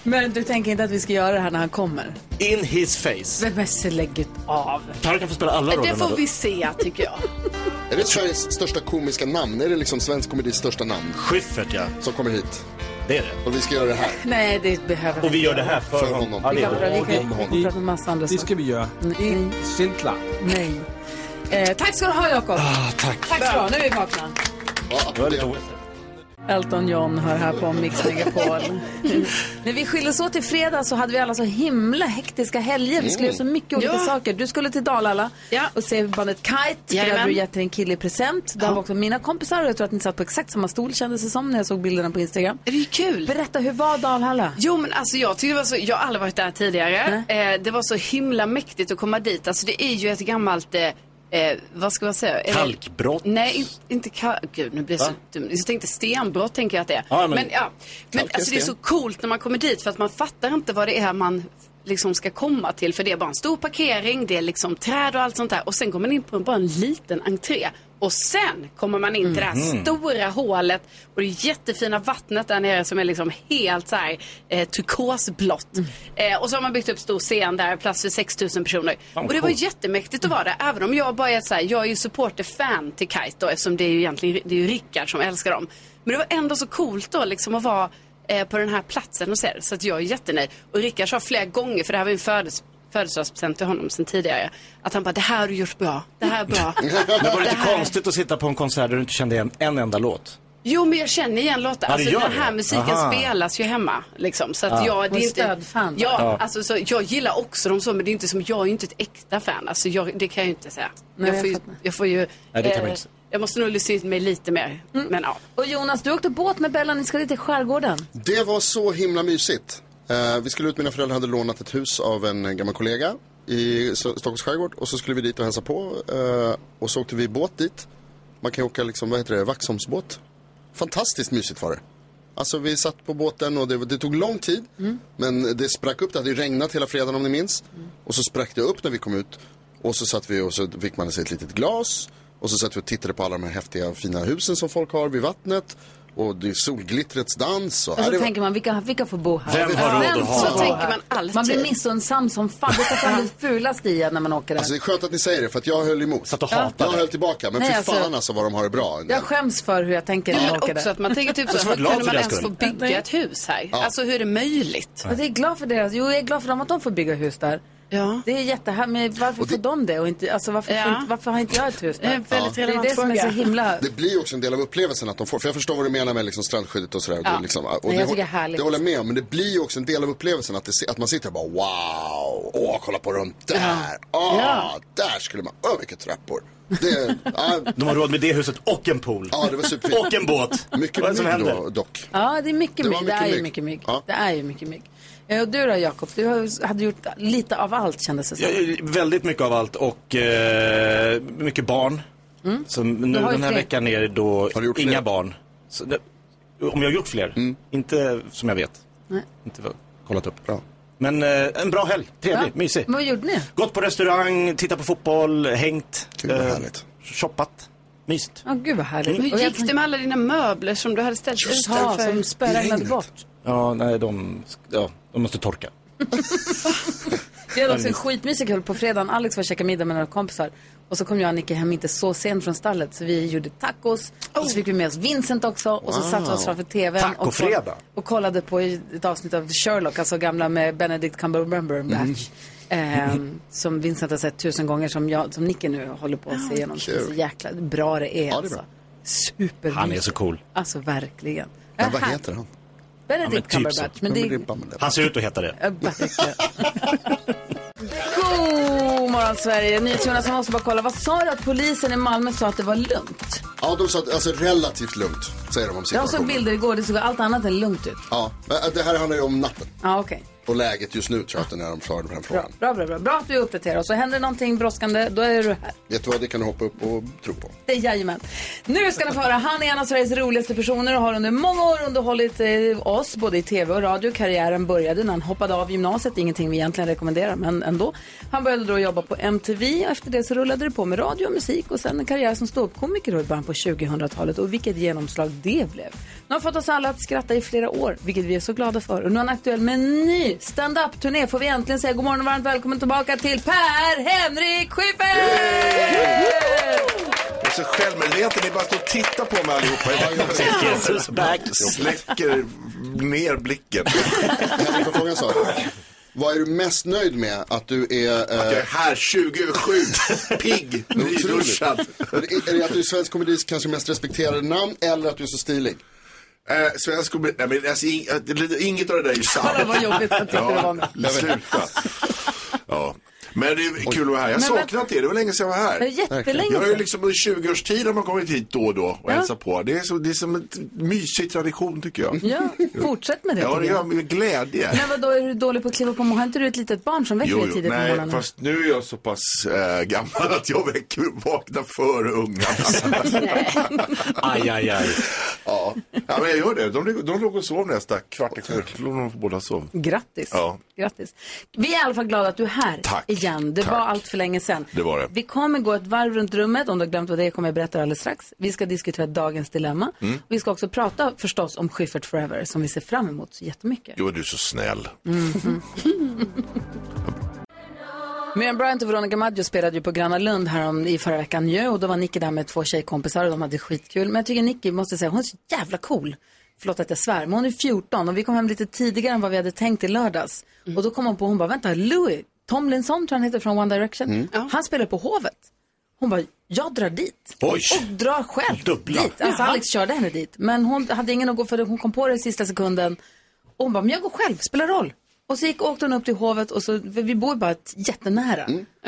Speaker 2: Men du tänker inte att vi ska göra det här när han kommer?
Speaker 4: In his face.
Speaker 2: Men, men så lägg ut av.
Speaker 4: Tarek kan få spela alla
Speaker 5: Det
Speaker 4: rollerna.
Speaker 5: får
Speaker 4: då.
Speaker 5: vi se, tycker jag.
Speaker 3: Är det Sveriges största komiska namn? Är det liksom svensk komedis största namn
Speaker 4: Schyffert, ja.
Speaker 3: som kommer hit?
Speaker 4: Det är det.
Speaker 3: Och vi ska göra det här
Speaker 2: Nej, det behöver
Speaker 4: Och vi gör det här för,
Speaker 3: för honom.
Speaker 4: Ja, det är bra.
Speaker 2: vi kan
Speaker 3: Om honom.
Speaker 2: vi prata om massa andra
Speaker 7: Det
Speaker 2: saker.
Speaker 7: skal vi gøre.
Speaker 2: Mm.
Speaker 7: En selvklar.
Speaker 2: Nej. Eh, tack ska du ha, Jakob.
Speaker 4: Ah, tack.
Speaker 2: Tack ska du ha. Nu är vi vakna.
Speaker 3: Ja,
Speaker 4: Det var lite o-
Speaker 2: Elton John hör här på Mix Megapol. När vi skildes åt i fredag så hade vi alla så himla hektiska helger. Vi skulle göra så mycket olika
Speaker 5: Ja.
Speaker 2: saker. Du skulle till Dalala
Speaker 5: Ja.
Speaker 2: och se bandet Kite. För det hade
Speaker 5: Jajamän.
Speaker 2: du gett till en kille i present. Där var också mina kompisar och jag tror att ni satt på exakt samma stol kändes det som när jag såg bilderna på Instagram.
Speaker 5: Det är ju kul.
Speaker 2: Berätta, hur var Dalhalla?
Speaker 5: Jo men alltså jag tyckte det var så, jag har aldrig varit där tidigare. Eh, det var så himla mäktigt att komma dit. Alltså det är ju ett gammalt, eh, eh, vad ska man säga? Är det-
Speaker 4: Kalkbrott.
Speaker 5: Nej, in- inte kalk. Gud, nu blir jag så
Speaker 4: Va?
Speaker 5: dum. Jag tänkte stenbrott tänker jag att det är.
Speaker 4: Ja, men-
Speaker 5: men ja. men
Speaker 3: Kalk är
Speaker 5: alltså, det är så
Speaker 3: sten.
Speaker 5: coolt när man kommer dit för att man fattar inte vad det är man liksom ska komma till. För det är bara en stor parkering, det är liksom träd och allt sånt där. Och sen går man in på en, bara en liten entré. Och sen kommer man in till det här stora hålet och det jättefina vattnet där nere som är liksom helt så här eh, turkosblått. Eh, och så har man byggt upp stor scen där, plats för 6 000 personer. och det var jättemäktigt att vara där, även om jag bara är så här, jag är ju supporter-fan till Kite då, eftersom det är ju egentligen det är ju Rickard som älskar dem. Men det var ändå så coolt då liksom att vara eh, på den här platsen och så, här, så att jag är jättenöjd. Och Rickard sa flera gånger, för det här var ju en födelsedag födelsedagspresent till honom sen tidigare. Att han bara, det här har du gjort bra. Det här är bra.
Speaker 4: Men var det inte
Speaker 5: här-
Speaker 4: konstigt att sitta på en konsert där du inte kände igen en enda låt?
Speaker 5: Jo, men jag känner igen Lotta.
Speaker 4: Ja, det
Speaker 5: Alltså,
Speaker 4: gör
Speaker 5: den
Speaker 4: det.
Speaker 5: här musiken
Speaker 4: Aha.
Speaker 5: spelas ju hemma. Liksom. Så att jag, det
Speaker 2: Och
Speaker 5: är inte...
Speaker 2: stödfan, va?
Speaker 5: Ja, alltså, så, jag gillar också dem så, men det är inte som, jag är ju inte ett äkta fan. Alltså, jag, det kan jag ju inte säga.
Speaker 2: Nej, jag
Speaker 5: jag, får ju,
Speaker 2: fattar.
Speaker 5: jag får ju... eh,
Speaker 4: Nej, det kan man inte.
Speaker 5: jag måste nog lyssna in mig lite mer.
Speaker 2: Mm.
Speaker 5: Men ja.
Speaker 2: Och Jonas, du åkte båt med Bella. Ni ska lite i skärgården.
Speaker 3: Det var så himla mysigt. Eh, vi skulle ut, mina föräldrar hade lånat ett hus av en gammal kollega i S- Stockholms skärgård och så skulle vi dit och hälsa på eh, och så åkte vi båt dit. Man kan ju åka liksom, vad heter det, Vaxholmsbåt. Fantastiskt mysigt var det. Alltså vi satt på båten och det, det tog lång tid
Speaker 2: Mm.
Speaker 3: men det sprack upp, det hade ju regnat hela fredagen om ni minns. Och så sprack det upp när vi kom ut och så satt vi och så fick man sig ett litet glas och så satt vi och tittade på alla de här häftiga fina husen som folk har vid vattnet och det är solglittrets dans. Och,
Speaker 2: Och så
Speaker 3: Nej, det var-
Speaker 2: Alltså, tänker man, vilka, vilka får bo här?
Speaker 4: Vem har råd att ha
Speaker 5: Så
Speaker 4: Ja.
Speaker 5: tänker man alltid.
Speaker 2: Man blir missunnsam som fan. Det tar fram det fulaste i en när man åker där.
Speaker 3: Alltså det är skönt att ni säger det för att jag höll emot.
Speaker 4: Satt och
Speaker 3: Jag
Speaker 4: hatade.
Speaker 3: höll tillbaka men
Speaker 2: Nej,
Speaker 3: fy
Speaker 2: alltså-
Speaker 3: fan alltså vad de har det bra.
Speaker 2: jag skäms för hur jag tänker när
Speaker 5: Men
Speaker 2: jag åker
Speaker 5: också
Speaker 2: där.
Speaker 5: att man tänker typ så,
Speaker 4: Jag var
Speaker 5: hur
Speaker 4: glad
Speaker 5: kunde
Speaker 4: för
Speaker 5: man
Speaker 4: deras
Speaker 5: ens få
Speaker 4: skull.
Speaker 5: bygga ett hus här? Alltså hur är det möjligt?
Speaker 2: Och det är glad för deras, jo, jag är glad för dem att de får bygga hus där.
Speaker 5: Ja.
Speaker 2: Det är jättehärligt, men varför får de det? Och inte, alltså, varför,
Speaker 5: Ja. Eh,
Speaker 2: får inte, varför har inte jag ett hus
Speaker 5: Det är
Speaker 2: där?
Speaker 5: en väldigt
Speaker 2: det är
Speaker 5: relevant
Speaker 2: det som är så
Speaker 5: fråga.
Speaker 2: himla...
Speaker 3: Det blir ju också en del av upplevelsen att de får, för jag förstår vad du menar med liksom strandskyddet och sådär. Det, liksom, och
Speaker 2: Nej, jag
Speaker 3: det,
Speaker 2: tycker det är härligt.
Speaker 3: det håller jag med om, men det blir ju också en del av upplevelsen att, det, se- att man sitter och bara wow, åh kolla på dem där, ah, där skulle man, åh vilka trappor. Det, ja,
Speaker 4: De har råd med det huset och en pool.
Speaker 3: ja, det var superfint.
Speaker 4: Och en båt.
Speaker 3: Mycket
Speaker 4: Vad är det som
Speaker 3: mygg
Speaker 4: händer?
Speaker 3: då, dock.
Speaker 2: Ja, det är mycket
Speaker 3: Det
Speaker 2: mygg.
Speaker 3: var
Speaker 2: Det
Speaker 3: mycket
Speaker 2: är ju
Speaker 3: mygg.
Speaker 2: mycket mygg.
Speaker 3: Ja.
Speaker 2: Det är ju mycket mygg. Eh, Och du då Jakob, du har- hade gjort lite av allt kändes det som.
Speaker 4: Ja, väldigt mycket av allt och eh, mycket barn. Så nu
Speaker 2: Mm. Du har ju
Speaker 4: den här
Speaker 2: fler.
Speaker 4: veckan är det då
Speaker 3: Har du gjort
Speaker 4: inga
Speaker 3: fler? Mm.
Speaker 4: barn. Så det, om jag har gjort fler? Inte som jag vet.
Speaker 2: Nej.
Speaker 4: Inte vad- kollat upp.
Speaker 3: Bra.
Speaker 4: Men eh, en bra helg. Trevlig,
Speaker 2: Ja.
Speaker 4: mysig.
Speaker 2: Vad gjorde ni?
Speaker 4: Gått på restaurang, tittat på fotboll, hängt. eh,
Speaker 3: Kul, vad härligt.
Speaker 4: Shoppat. Mysigt.
Speaker 2: Ja, gud vad härligt.
Speaker 5: Hur
Speaker 2: Och jag
Speaker 5: gick det med alla dina möbler som du hade ställt
Speaker 2: tänkte, "Ja,
Speaker 5: utanför?
Speaker 2: som spöregnade
Speaker 3: regnet.
Speaker 2: bort.
Speaker 4: Ja, nej, de, ja, de måste torka.
Speaker 2: Vi hade också en skitmysig kväll på fredagen. Alex var och käkade middag med några kompisar. Och så kom jag och Nicke hem inte så sent från stallet så vi gjorde tacos. Och så fick vi med oss Vincent också. Och så satte vi oss framför tvn och,
Speaker 4: Tacofredag.
Speaker 2: och kollade på ett avsnitt av Sherlock, alltså gamla med Benedict Cumberbatch.
Speaker 4: Mm.
Speaker 2: Ehm, som Vincent har sett tusen gånger som, jag, som Nicke nu håller på
Speaker 4: Ah,
Speaker 2: att se igenom. Så
Speaker 3: kul.
Speaker 2: så jäkla bra det är,
Speaker 3: bra.
Speaker 2: alltså. Supermysigt.
Speaker 4: Han är så cool.
Speaker 2: Alltså verkligen.
Speaker 3: Men vad heter han?
Speaker 2: Benedict
Speaker 4: Ja, men typ
Speaker 2: Cumberbatch.
Speaker 4: så.
Speaker 2: Men det
Speaker 3: Ja,
Speaker 2: är
Speaker 3: men det är Bumble.
Speaker 4: Han ser ut att heta det.
Speaker 2: Ja, verkligen. God morgon Sverige! NyhetsJonas, jag måste bara kolla. Vad sa du att polisen i Malmö sa att det var lugnt?
Speaker 3: Ja, de sa att, alltså relativt lugnt, säger de om
Speaker 2: Jag såg
Speaker 3: situationen.
Speaker 2: bilder igår, det såg allt annat än lugnt ut.
Speaker 3: Ja, men äh, det här handlar ju om natten
Speaker 2: Ja, okej.
Speaker 3: och läget just nu tror jag att när de svarade på den här
Speaker 2: Bra,
Speaker 3: frågan.
Speaker 2: bra, bra, bra. Bra att du uppdaterar oss. Och händer någonting brådskande, då är du här.
Speaker 3: Vet du vad, det kan du hoppa upp och tro på.
Speaker 2: Det är Jajamän. Nu ska ni få höra, han är en av Sveriges roligaste personer och har under många år underhållit eh, oss både i tv och radio. Karriären började när han hoppade av gymnasiet, ingenting vi egentligen rekommenderar men ändå. Han började då jobba på MTV och efter det så rullade det på med radio och musik och sen en karriär som ståuppkomiker då i början på 2000-talet och vilket genomslag det blev. Nu har fått oss alla att skratta i flera år, vilket vi är så glada för. Och nu är han aktuell med en ny stand-up-turné. Får vi äntligen säga god morgon och varmt välkommen tillbaka till Per-Henrik Schyffert!
Speaker 9: Jag är så självmedveten, ni bara står och tittar på mig allihopa. Jag bara
Speaker 4: Jesus back.
Speaker 9: släcker ner blicken.
Speaker 3: Henrik, får jag fråga en sak? Vad är du mest nöjd med att du är... eh,
Speaker 9: Jag är här 20 över 7, pigg,
Speaker 3: otroligt?
Speaker 9: nyduschad.
Speaker 3: Men Är är det att du är svensk komedis kanske mest respekterade namn eller att du är så stilig?
Speaker 9: Eh, svensk komedi, nej men alltså, ing, eh, inget av det där är ju sant.
Speaker 2: Kolla vad jobbigt han tyckte det var med.
Speaker 9: Ja, sluta. Ja. Men det är kul att vara här. Jag
Speaker 2: Men
Speaker 9: har saknat er, det var länge sedan jag var
Speaker 2: Det är
Speaker 9: här.
Speaker 2: jättelänge
Speaker 9: Jag har ju
Speaker 2: sedan.
Speaker 9: liksom under 20 års tid har man kommit hit då och då och
Speaker 2: Ja.
Speaker 9: hälsat på. Det är, så, det är som en mysig tradition tycker jag.
Speaker 2: Ja, fortsätt med det.
Speaker 9: Ja,
Speaker 2: tycker
Speaker 9: det gör
Speaker 2: jag.
Speaker 9: jag med glädje.
Speaker 2: Men vadå, är du dålig på att kliva upp på morgonen? Har inte du ett litet barn som väcker
Speaker 9: Jo,
Speaker 2: dig
Speaker 9: jo,
Speaker 2: tidigt på
Speaker 9: nej,
Speaker 2: morgonen?
Speaker 9: fast nu är jag så pass eh, gammal att jag väcker, vaknar före
Speaker 2: Alltså.
Speaker 9: ungarna.
Speaker 4: Aj, aj, aj.
Speaker 9: ja. ja, men jag gör det. De, de låg och sov nästa kvart i sju. De båda sov.
Speaker 2: Grattis.
Speaker 9: Ja.
Speaker 2: Grattis. Vi är i alla fall glada att du är här
Speaker 9: Tack.
Speaker 2: igen. Det
Speaker 9: Tack.
Speaker 2: var allt för länge sedan.
Speaker 9: Det var det.
Speaker 2: Vi kommer gå ett varv runt rummet. Om du har glömt vad det är kommer jag berätta det alldeles strax. Vi ska diskutera dagens dilemma.
Speaker 9: Mm.
Speaker 2: Vi ska också prata förstås om Schyffert Forever som vi ser fram emot så jättemycket.
Speaker 9: Jo, du är så snäll.
Speaker 2: Mm. Miriam Bryant och Veronica Maggio spelade ju på Gröna Lund här om, i förra veckan ju och då var Nicky där med två tjejkompisar och de hade skitkul. Men jag tycker Nicky, måste säga, hon är så jävla cool. Förlåt att jag svär, men hon är 14 och vi kom hem lite tidigare än vad vi hade tänkt i lördags. Och då kom hon på, hon bara, vänta, Louis Tomlinson tror jag han heter från One Direction, han spelar på Hovet. Hon bara, jag drar dit.
Speaker 4: Oj.
Speaker 2: Och drar själv
Speaker 4: Dubbla.
Speaker 2: dit. Alltså Alex körde henne dit. Men hon hade ingen att gå för, hon kom på det i sista sekunden. Och hon bara, men jag går själv, spelar roll. Och så gick, åkte hon upp till hovet och så, för vi bor bara ett, jättenära.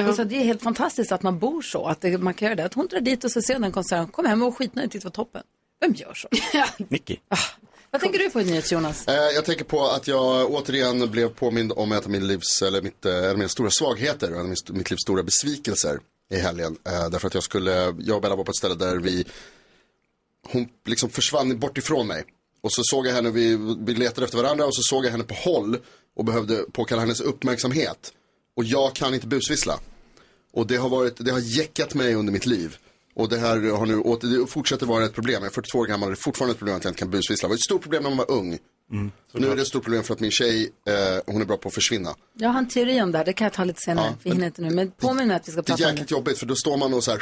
Speaker 2: Och så det är helt fantastiskt att man bor så, att det, man kan göra det. Att hon drar dit och så ser hon den konserten, kom hem och var skitnöjd, tyckte det var toppen. Vem gör så?
Speaker 4: Nicky.
Speaker 2: Vad tänker du på i nyhets, Jonas?
Speaker 3: Eh, Jag tänker på att jag återigen blev påmind om ett av min livs, eller mitt, eh, en av mina stora svagheter, och en av min- mitt livs stora besvikelser i helgen. Eh, Därför att jag skulle, jag och Bella var på ett ställe där vi, hon liksom försvann bort ifrån mig. Och så såg jag henne, vi, vi letade efter varandra och så såg jag henne på håll och behövde påkalla hennes uppmärksamhet. Och jag kan inte busvissla. Och det har, varit, det har jäckat mig under mitt liv. Och det här har nu åter, det fortsätter vara ett problem. Jag är 42 år gammal och det är fortfarande ett problem att jag inte kan busvissla. Det var ett stort problem när man var ung. nu är det ett stort problem för att min tjej, eh, hon är bra på att försvinna.
Speaker 2: Jag har en teori om det här, det kan jag ta lite senare.
Speaker 3: Ja,
Speaker 2: vi hinner inte nu, men påminn mig att vi ska
Speaker 3: Det är
Speaker 2: prata om det.
Speaker 3: jäkligt jobbigt för då står man och så här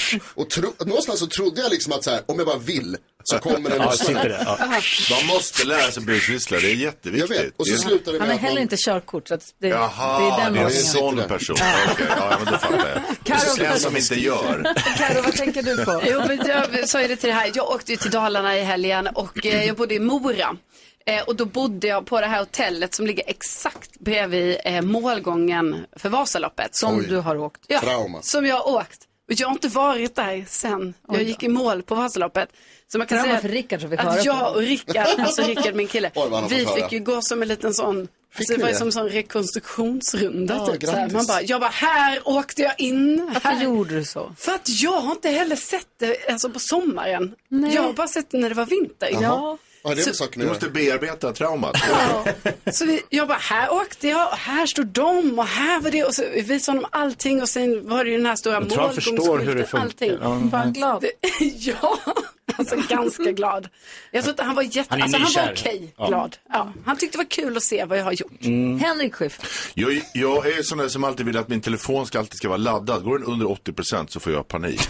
Speaker 3: och tro, någonstans så trodde jag liksom att så här, om jag bara vill så kommer den
Speaker 4: Ja,
Speaker 3: och smäller.
Speaker 4: sitter det. Ja.
Speaker 9: De måste lära sig busvissla, det är
Speaker 3: Jag
Speaker 9: jätteviktigt.
Speaker 3: vet, och
Speaker 9: Det
Speaker 3: så
Speaker 9: är-
Speaker 3: slutar det
Speaker 2: Han
Speaker 3: med
Speaker 2: har
Speaker 3: att man...
Speaker 2: heller inte körkort, så att det,
Speaker 9: Jaha,
Speaker 2: det är den
Speaker 9: det är en
Speaker 2: ordningen.
Speaker 9: sån
Speaker 3: där.
Speaker 9: person. Okej, ja, men då fattar
Speaker 2: Karo,
Speaker 9: jag. Den som inte gör.
Speaker 2: Karo, vad tänker du på?
Speaker 5: Jo, men jag sa ju det till det här. Jag åkte ju till Dalarna i helgen och eh, jag bodde i Mora. Eh, och då bodde jag på det här hotellet som ligger exakt bredvid eh, målgången för Vasaloppet.
Speaker 2: Som du har åkt.
Speaker 5: ja,
Speaker 3: Trauma.
Speaker 5: Som jag har åkt. Och jag har inte varit där sen jag gick i mål på Vasaloppet. Så man kan
Speaker 1: Trauma
Speaker 5: säga
Speaker 1: för Rickard som fick höra
Speaker 5: att
Speaker 1: på.
Speaker 5: jag och Rickard, alltså Rickard min kille,
Speaker 3: Oj, vad han har
Speaker 5: vi
Speaker 3: fått höra.
Speaker 5: fick ju gå som en liten sån Alltså, det
Speaker 3: ni
Speaker 5: var ju
Speaker 3: det?
Speaker 5: som en sån rekonstruktionsrunda.
Speaker 3: Ja,
Speaker 5: typ, så här.
Speaker 3: grattis.
Speaker 5: Man bara, jag bara, här åkte jag in.
Speaker 2: Varför gjorde du så?
Speaker 5: För att jag har inte heller sett det alltså på sommaren. Jag har bara sett det när det var vinter.
Speaker 3: Jaha. Vad har det med saken
Speaker 9: Du
Speaker 3: att
Speaker 9: måste
Speaker 3: göra?
Speaker 9: bearbeta traumat.
Speaker 5: Så vi, jag bara, här åkte jag och här stod de och här var det. Och så visade honom allting och sen var det ju den här stora
Speaker 4: Jag tror han förstår hur det
Speaker 5: målgångsskylten.
Speaker 4: funkar.
Speaker 5: Allting.
Speaker 4: Ja.
Speaker 2: Var han glad?
Speaker 5: Det, ja, alltså ganska glad. Jag tror inte han var jätte,
Speaker 4: Han
Speaker 5: han
Speaker 4: är
Speaker 5: alltså han var
Speaker 4: nykär.
Speaker 5: okej
Speaker 4: Ja.
Speaker 5: glad. Ja, han tyckte det var kul att se vad jag har gjort.
Speaker 1: Henrik Schiff.
Speaker 9: Jag, jag är sån där som alltid vill att min telefon ska alltid ska vara laddad. Går den under 80 procent så får jag panik.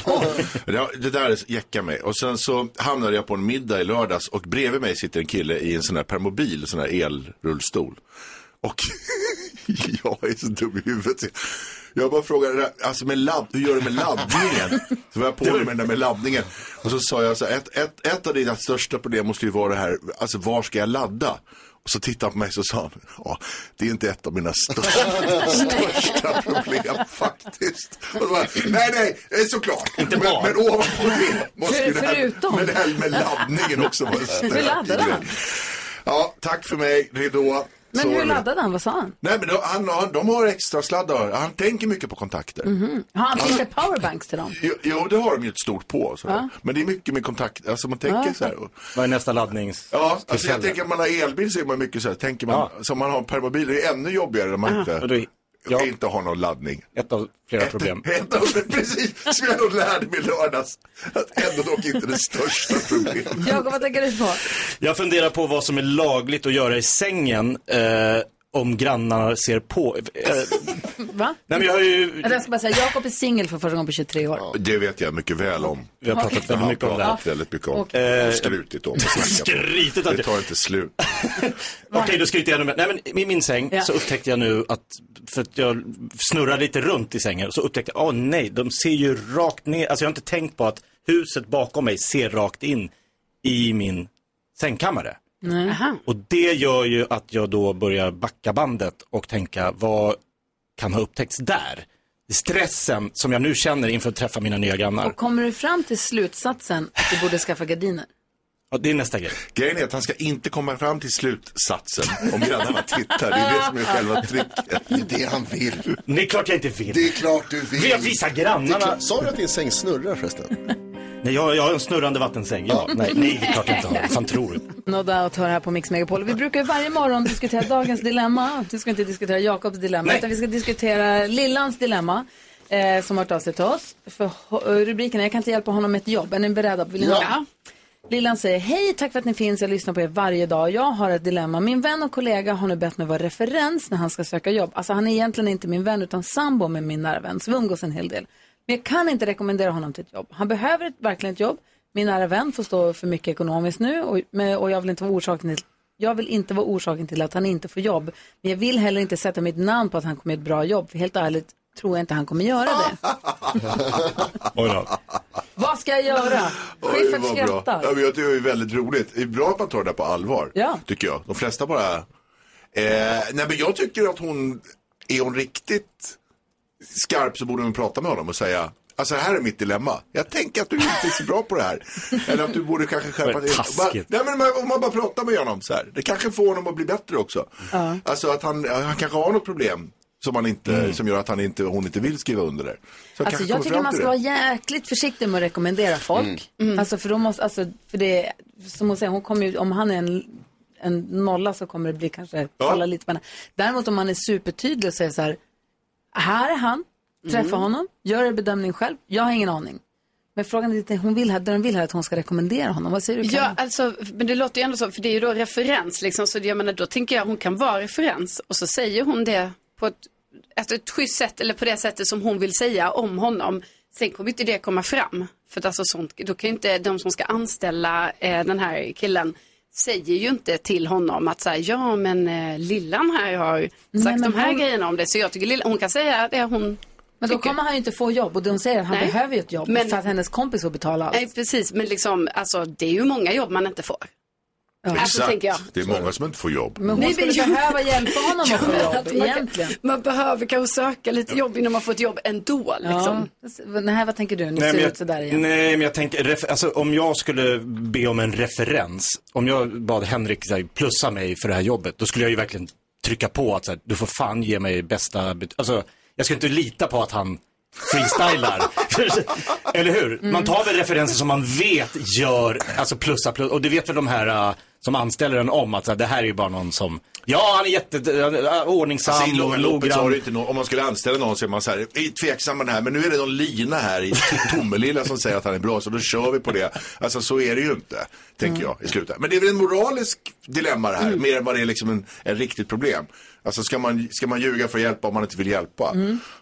Speaker 9: det, det där jäckar mig. Och sen så hamnade jag på en middag i lördags och bredvid mig sitter en kille i en sån här permobil, sån här elrullstol. Och jag är så dum i huvudet. så Jag bara frågade, det där, alltså med ladd, hur gör du med laddningen? Så var jag på med den där med laddningen. Och så sa jag så här, ett, ett, ett av dina största problem måste ju vara det här, alltså var ska jag ladda? Och så tittade han på mig och sa, han, ja, det är inte ett av mina största, största problem faktiskt. Och då bara, nej, nej, eh, såklart. Inte men,
Speaker 4: bara.
Speaker 9: men ovanpå det måste ju det här
Speaker 1: förutom.
Speaker 9: med, det här med laddningen också vara en stökig
Speaker 1: laddade han?
Speaker 9: grej. Ja, tack för mig, ridå.
Speaker 2: Men hur laddade han? Vad sa han?
Speaker 9: Nej men de, han, han, de har extra sladdar. Han tänker mycket på kontakter.
Speaker 2: Har han skickat powerbanks till dem?
Speaker 9: Jo, jo, det har de ju ett stort på. Så. Men det är mycket med kontakt, alltså man tänker så här. Och,
Speaker 4: Vad är nästa laddnings...
Speaker 9: ja, alltså jag
Speaker 4: tillfälle?
Speaker 9: tänker att man har elbil så är man mycket så här, tänker man, som man har en permobil, det är ännu jobbigare när man
Speaker 4: Och
Speaker 9: inte,
Speaker 4: då- ja.
Speaker 9: inte har någon laddning.
Speaker 4: Ett av flera problem.
Speaker 9: Ett, av det, precis, som jag då lärde mig i lördags. Att ändå dock inte det största problemet.
Speaker 1: Jakob, vad tänker du på?
Speaker 4: Jag funderar på vad som är lagligt att göra i sängen eh, om grannarna ser på. Eh,
Speaker 2: Va?
Speaker 4: nej men jag har ju
Speaker 1: Jag ska bara säga, Jakob är singel för första gången på 23 år.
Speaker 9: Det vet jag mycket väl om.
Speaker 4: vi har pratat väldigt mycket om det här.
Speaker 9: Väldigt mycket om. Och skrutit om. och snackat om.
Speaker 4: Skrytigt att
Speaker 9: Det tar inte slut.
Speaker 4: Okej, då skryter jag ännu mer. Nej, men i min säng så upptäckte jag nu att, för att jag snurrar lite runt i sängen, så upptäckte jag, åh nej, de ser ju rakt ner. Alltså jag har inte tänkt på att huset bakom mig ser rakt in i min sängkammare. Och det gör ju att jag då börjar backa bandet och tänka, vad kan ha upptäckts där? Stressen som jag nu känner inför att träffa mina nya grannar.
Speaker 2: Och kommer du fram till slutsatsen att du borde skaffa gardiner?
Speaker 4: Ja, det är nästa grej.
Speaker 9: Grejen är att han ska inte komma fram till slutsatsen om grannarna tittar. Det är det som är själva tricket.
Speaker 3: Det är det han vill.
Speaker 4: Det är klart jag inte vill.
Speaker 3: Det är klart du vill.
Speaker 4: Vill jag visa grannarna?
Speaker 3: Det är klart- Sa du att din säng snurrar förresten?
Speaker 4: Nej, jag, jag har en snurrande vattensäng. Ja, nej, nej, det är klart jag inte har. Vad fan tror du?
Speaker 2: No doubt hör här på Mix Megapol. Vi brukar ju varje morgon diskutera dagens dilemma. Vi ska inte diskutera Jakobs dilemma,
Speaker 4: Nej.
Speaker 2: utan vi ska diskutera Lillans dilemma. Eh, som har hört av sig till oss. För ho- rubriken är Jag kan inte hjälpa honom med ett jobb. Är ni beredda? Vill ni
Speaker 3: Ja.
Speaker 2: höra? Lillan säger Hej, tack för att ni finns. Jag lyssnar på er varje dag. Jag har ett dilemma. Min vän och kollega har nu bett mig vara referens när han ska söka jobb. Alltså han är egentligen inte min vän utan sambo med min nära vän. Så vi umgås en hel del. Men jag kan inte rekommendera honom till ett jobb. Han behöver ett, verkligen ett jobb. Min nära vän får stå för mycket ekonomiskt nu och, med, och jag vill inte vara orsaken till jag vill inte vara orsaken till att han inte får jobb, men jag vill heller inte sätta mitt namn på att han kommer göra ett bra jobb, för helt ärligt tror jag inte han kommer göra det.
Speaker 4: Oj då.
Speaker 2: Vad ska jag göra?
Speaker 9: Oj,
Speaker 2: Schyffert
Speaker 9: vad bra.
Speaker 2: skrattar.
Speaker 9: Ja, men jag tycker det är väldigt roligt. Det är bra att man tar det där på allvar,
Speaker 2: Ja.
Speaker 9: tycker jag. De flesta bara... Eh, nej, men jag tycker att hon... Är hon riktigt skarp så borde hon prata med honom och säga Alltså här är mitt dilemma. Jag tänker att du inte är så bra på det här. Eller att du borde kanske skärpa
Speaker 4: Vad
Speaker 9: dig. Bara-
Speaker 4: taskigt.
Speaker 9: Nej men man- om man bara pratar med honom så här. Det kanske får honom att bli bättre också. Alltså att han, han kanske har något problem som, han inte,
Speaker 4: Mm.
Speaker 9: som gör att han inte, hon inte vill skriva under det.
Speaker 2: Alltså,
Speaker 9: Så kanske
Speaker 2: jag
Speaker 9: kommer
Speaker 2: tycker
Speaker 9: fram
Speaker 2: man
Speaker 9: till
Speaker 2: ska
Speaker 9: det. Mm.
Speaker 2: vara jäkligt försiktig med att rekommendera folk.
Speaker 5: Mm.
Speaker 2: Alltså, för, de måste, alltså, för det, som hon säger, hon kommer ju, om han är en, en nolla så kommer det bli kanske falla lite på henne. Däremot om man är supertydlig och säger så här, här är han, träffa
Speaker 9: Mm.
Speaker 2: honom, gör er bedömning själv, jag har ingen aning. Men frågan är lite, hon vill här, det hon vill här är att hon ska rekommendera honom. Vad säger du
Speaker 5: Ja,
Speaker 2: Karin?
Speaker 5: alltså, men det låter ju ändå så, för det är ju då referens liksom, så det- jag menar, då tänker jag hon kan vara referens och så säger hon det på ett, alltså, ett schysst sätt eller på det sättet som hon vill säga om honom. Sen kommer inte det komma fram, för att alltså sånt, då kan ju inte de som ska anställa eh, den här killen säger ju inte till honom att så här, ja men eh, Lillan här har sagt
Speaker 2: men
Speaker 5: de här
Speaker 2: hon-
Speaker 5: grejerna om det, så jag tycker Lillan, hon kan säga det hon
Speaker 2: Men då
Speaker 5: tycker.
Speaker 2: kommer han ju inte få jobb och hon säger att han
Speaker 5: Nej.
Speaker 2: behöver ju ett jobb
Speaker 5: Men-
Speaker 2: för att hennes kompis får betala allt.
Speaker 5: Nej, precis, men liksom, alltså, det är ju många jobb man inte får. Alltså,
Speaker 9: Exakt.
Speaker 5: tänker jag.
Speaker 9: Det är många som inte får jobb.
Speaker 2: Men hon
Speaker 5: Nej,
Speaker 2: skulle
Speaker 5: men jag-
Speaker 2: behöva hjälpa honom att få jobb
Speaker 5: Att man, kan-
Speaker 2: egentligen.
Speaker 5: man behöver kanske söka lite jobb innan man får ett jobb ändå. Liksom.
Speaker 2: Ja. Nej, vad tänker du? Ni ser ut sådär igen.
Speaker 4: nej, men jag tänker, ref, alltså, om jag skulle be om en referens, om jag bad Henrik så här, plussa mig för det här jobbet, då skulle jag ju verkligen trycka på att så här, du får fan ge mig bästa, bet- alltså jag skulle inte lita på att han freestylar. Eller hur?
Speaker 2: Mm.
Speaker 4: Man tar väl referenser som man vet gör, alltså plussa plus, och det vet väl de här äh, som anställer en om att så här, det här är ju bara någon som, ja han är jätte, äh, ordningsam
Speaker 9: Alltså, I långa
Speaker 4: och
Speaker 9: loppet så har
Speaker 4: noggrann.
Speaker 9: du inte någon, om man skulle anställa någon så är man så här, "Vi är tveksam med den här, men nu är det någon Lina här i Tomelilla som säger att han är bra, så då kör vi på det. Alltså så är det ju inte, tänker jag i slutet. Men det är väl en moralisk dilemma det här, mer än vad det är liksom en, en riktigt problem. Alltså ska man, ska man ljuga för att hjälpa om man inte vill hjälpa?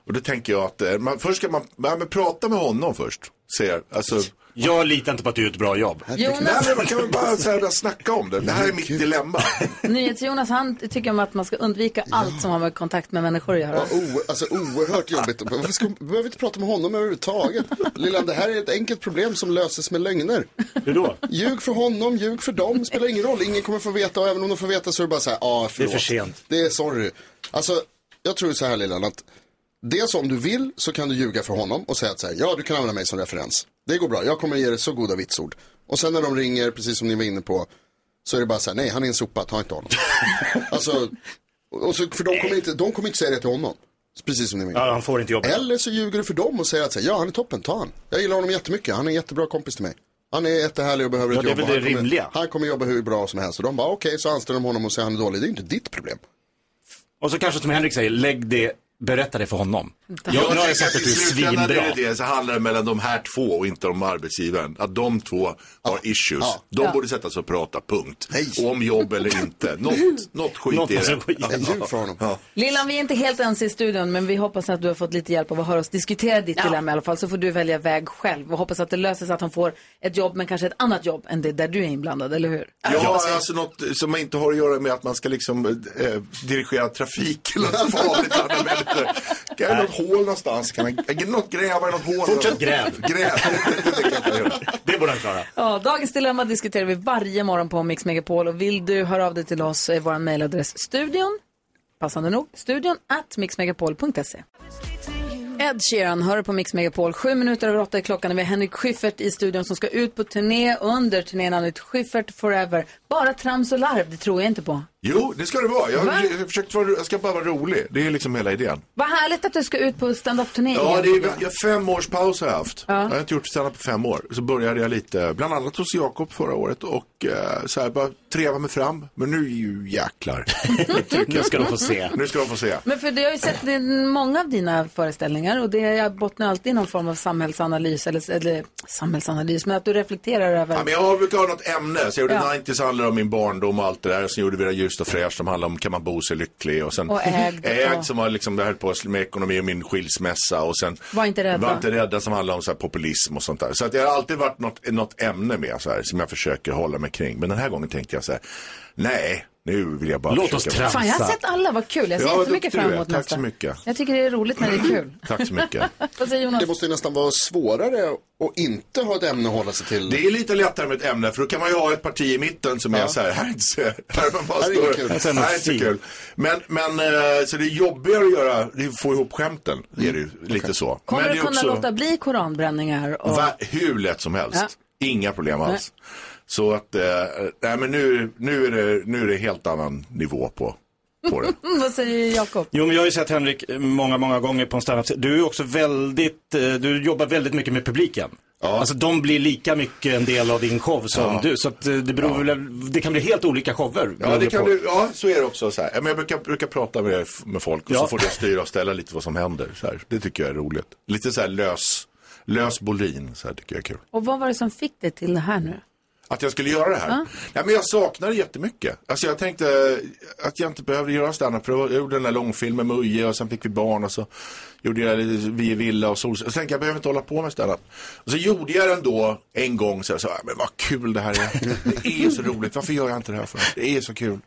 Speaker 9: Och då tänker jag att, eh, man, först ska man, ja, men prata med honom först. Ser, alltså,
Speaker 4: Jag litar inte på att du gör ett bra jobb.
Speaker 9: nej,
Speaker 2: Jonas,
Speaker 9: men man kan väl bara så här, snacka om det, det här är mitt dilemma.
Speaker 2: NyhetsJonas, han tycker om att man ska undvika allt som har med kontakt med människor att göra.
Speaker 3: Ja, o- alltså oerhört jobbigt. Varför ska, behöver vi inte prata med honom överhuvudtaget. Lillan, det här är ett enkelt problem som löses med lögner.
Speaker 4: Hur då?
Speaker 3: Ljug för honom, ljug för dem, spelar ingen roll. Ingen kommer få veta och även om de får veta så är det bara så här, ja ah, förlåt.
Speaker 4: Det är för sent.
Speaker 3: Det är sorry. Alltså, jag tror så här Lillan, att dels om du vill så kan du ljuga för honom och säga att så här, ja du kan använda mig som referens. Det går bra, jag kommer ge dig så goda vitsord. Och sen när de ringer, precis som ni var inne på, så är det bara så här, nej han är en sopa, ta inte honom. alltså, och så, för de kommer, inte, de kommer inte säga det till honom. Precis som ni var inne på.
Speaker 4: Ja, han får inte jobbet.
Speaker 3: Eller så ljuger du för dem och säger att så här, ja han är toppen, ta han. Jag gillar honom jättemycket, han är en jättebra kompis till mig. Han är jättehärlig och behöver
Speaker 4: Ja,
Speaker 3: ett
Speaker 4: det är
Speaker 3: jobb.
Speaker 4: väl
Speaker 3: och han
Speaker 4: det
Speaker 3: kommer-
Speaker 4: rimliga.
Speaker 3: Han kommer jobba hur bra som helst. Och de bara okej, så anställer de honom och säger han är dålig. Det är ju inte ditt problem.
Speaker 4: Och så kanske som Henrik säger, lägg det, berätta det för honom. Jag,
Speaker 9: Jag
Speaker 4: jag har
Speaker 9: tänker
Speaker 4: sagt att
Speaker 9: att i
Speaker 4: du är
Speaker 9: slutändan
Speaker 4: svinbra.
Speaker 9: är det det, så handlar det mellan de här två och inte om arbetsgivaren. Att de två har issues.
Speaker 3: Ja.
Speaker 9: De borde sätta sig och prata, punkt.
Speaker 3: Nej.
Speaker 9: Och om jobb eller inte. Något, något skit
Speaker 4: Något alltså.
Speaker 9: är
Speaker 4: måste
Speaker 9: det.
Speaker 4: gå igenom.
Speaker 3: Jag ljuger för honom.
Speaker 2: Lillan, vi är inte helt ens i studion, men vi hoppas att du har fått lite hjälp av att höra oss diskutera ditt dilemma i alla fall. Så får du välja väg själv och hoppas att det löser sig att han får ett jobb, men kanske ett annat jobb än det där du är inblandad, eller hur?
Speaker 9: Ja, alltså något som inte har att göra med att man ska liksom eh, dirigera trafik eller något farligt andra människor. Kan jag något hål någonstans? Kan jag, något gräva i något hål?
Speaker 4: Fortsätt gräv.
Speaker 9: Gräv. Det tänker jag inte göra.
Speaker 4: Det borde han klara.
Speaker 2: Ja, dagens dilemma diskuterar vi varje morgon på Mix Megapol och vill du höra av dig till oss är vår mejladress studion, passande nog, studion at mixmegapol.se. Ed Sheeran hör på Mix Megapol. Sju minuter över åtta är klockan. Vi har Henrik Schyffert i studion som ska ut på turné under turnén han ut Schyffert Forever. Bara trams och larv, det tror jag inte på.
Speaker 9: Jo, det ska det vara. Jag,
Speaker 2: Va?
Speaker 9: har jag, försökt vara, jag ska bara vara rolig. Det är liksom hela idén.
Speaker 2: Vad härligt att du ska ut på stand-up-turné
Speaker 9: Ja,
Speaker 2: igen.
Speaker 9: det är, jag, fem års paus har jag haft. Jag har inte gjort stand på fem år. Så började jag lite, bland annat hos Jakob förra året och eh, så här, bara treva mig fram. Men nu är ju jäklar.
Speaker 4: Nu ska de få se.
Speaker 9: nu ska de få se.
Speaker 2: Men för det, jag har ju sett det- många av dina föreställningar och det jag bottnar alltid i någon form av samhällsanalys, eller, eller samhällsanalys, men att du reflekterar över...
Speaker 9: Ja, men jag brukar ha något ämne. Så jag gjorde
Speaker 2: Ja.
Speaker 9: 90s handlade om min barndom och allt det där. Sen gjorde vi det ljust och fräscht som handlade om kan man bo sig lycklig. Och sen
Speaker 2: Och ägd, ja.
Speaker 9: som var liksom, det höll på med ekonomi och min skilsmässa. Och sen
Speaker 2: Var inte rädda.
Speaker 9: Var inte rädda som handlade om så här populism och sånt där. Så att jag har alltid varit något, något ämne med så här, som jag försöker hålla mig kring. Men den här gången tänkte jag så här, nej, nu vill jag bara
Speaker 4: Låt oss
Speaker 9: försöka-
Speaker 4: tramsa.
Speaker 2: Fan, jag har sett alla, vad kul. Jag ser
Speaker 9: Ja, vad
Speaker 2: jättemycket
Speaker 9: duktig du
Speaker 2: fram
Speaker 9: är.
Speaker 2: emot
Speaker 9: Tack
Speaker 2: nästa.
Speaker 9: så mycket.
Speaker 2: Jag tycker det är roligt när det är kul.
Speaker 9: Tack så mycket.
Speaker 2: Vad säger Jonas?
Speaker 3: Det måste ju nästan vara svårare att inte ha ett ämne att hålla sig till.
Speaker 9: Det är lite lättare med ett ämne för då kan man ju ha ett parti i mitten som är så här, här är inte så, här är man bara
Speaker 3: Här är inget kul.
Speaker 9: står, här är inte så kul. Men, men eh, så det är jobbigare att göra, det är att få ihop skämten, är det ju
Speaker 3: Mm.
Speaker 9: lite så.
Speaker 2: Kommer
Speaker 9: men
Speaker 2: du
Speaker 9: det är
Speaker 2: kunna låta bli koranbränningar? Och...
Speaker 9: va, hur lätt som helst, inga problem alls. Så att, eh, nej men nu, nu, är det, nu är det helt annan nivå på, på det.
Speaker 2: Mm, vad säger Jakob?
Speaker 4: Jo, men jag har ju sett Henrik många, många gånger på en standup. Du är ju också väldigt, eh, du jobbar väldigt mycket med publiken. Alltså de blir lika mycket en del av din show som du. Så att eh, det beror väl, det kan bli helt olika shower.
Speaker 9: Ja,
Speaker 4: beroende
Speaker 9: det kan
Speaker 4: på.
Speaker 9: du, ja, så är det också. Så här. Ja, Men jag brukar, brukar prata med, med folk och
Speaker 4: Ja.
Speaker 9: så får jag styra och ställa lite vad som händer. Så här. Det tycker jag är roligt. Lite så här lös, lös bolin, så här tycker jag är kul.
Speaker 2: Och vad var det som fick dig till det här nu?
Speaker 9: Att jag skulle göra det här? Nej, men jag saknar det jättemycket. Alltså jag tänkte att jag inte behövde göra standup för jag gjorde den där långfilmen med Uje och sen fick vi barn och så gjorde jag lite Vi i villa och Solsidan. Så tänkte jag, jag behöver inte hålla på med standup. Och så gjorde jag den då en gång så jag sa, men vad kul det här är. Det är ju så roligt, varför gör jag inte det här för? Det är så kul.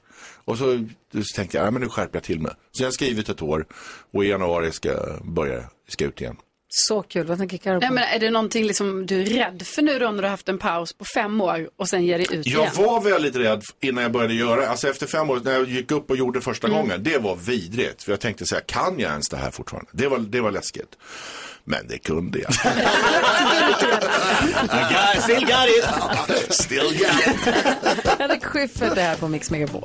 Speaker 9: Och så, så tänkte jag, nej, men nu skärper jag till mig. Så jag har skrivit ett år och i januari ska jag börja, ska jag ut igen.
Speaker 2: Så kul, vad tänker Carro på?
Speaker 5: Nej, men är det någonting liksom du är rädd för nu då när du har haft en paus på fem år och sen ger dig ut igen?
Speaker 9: Jag var väldigt rädd innan jag började göra, alltså efter fem år, när jag gick upp och gjorde första
Speaker 2: Mm.
Speaker 9: gången, det var vidrigt. För jag tänkte så här, kan jag ens det här fortfarande? Det var, det var läskigt. Men det kunde jag.
Speaker 4: I got, still got it!
Speaker 9: Still got it.
Speaker 2: Henrik Schyffert är här på Mix Megapol.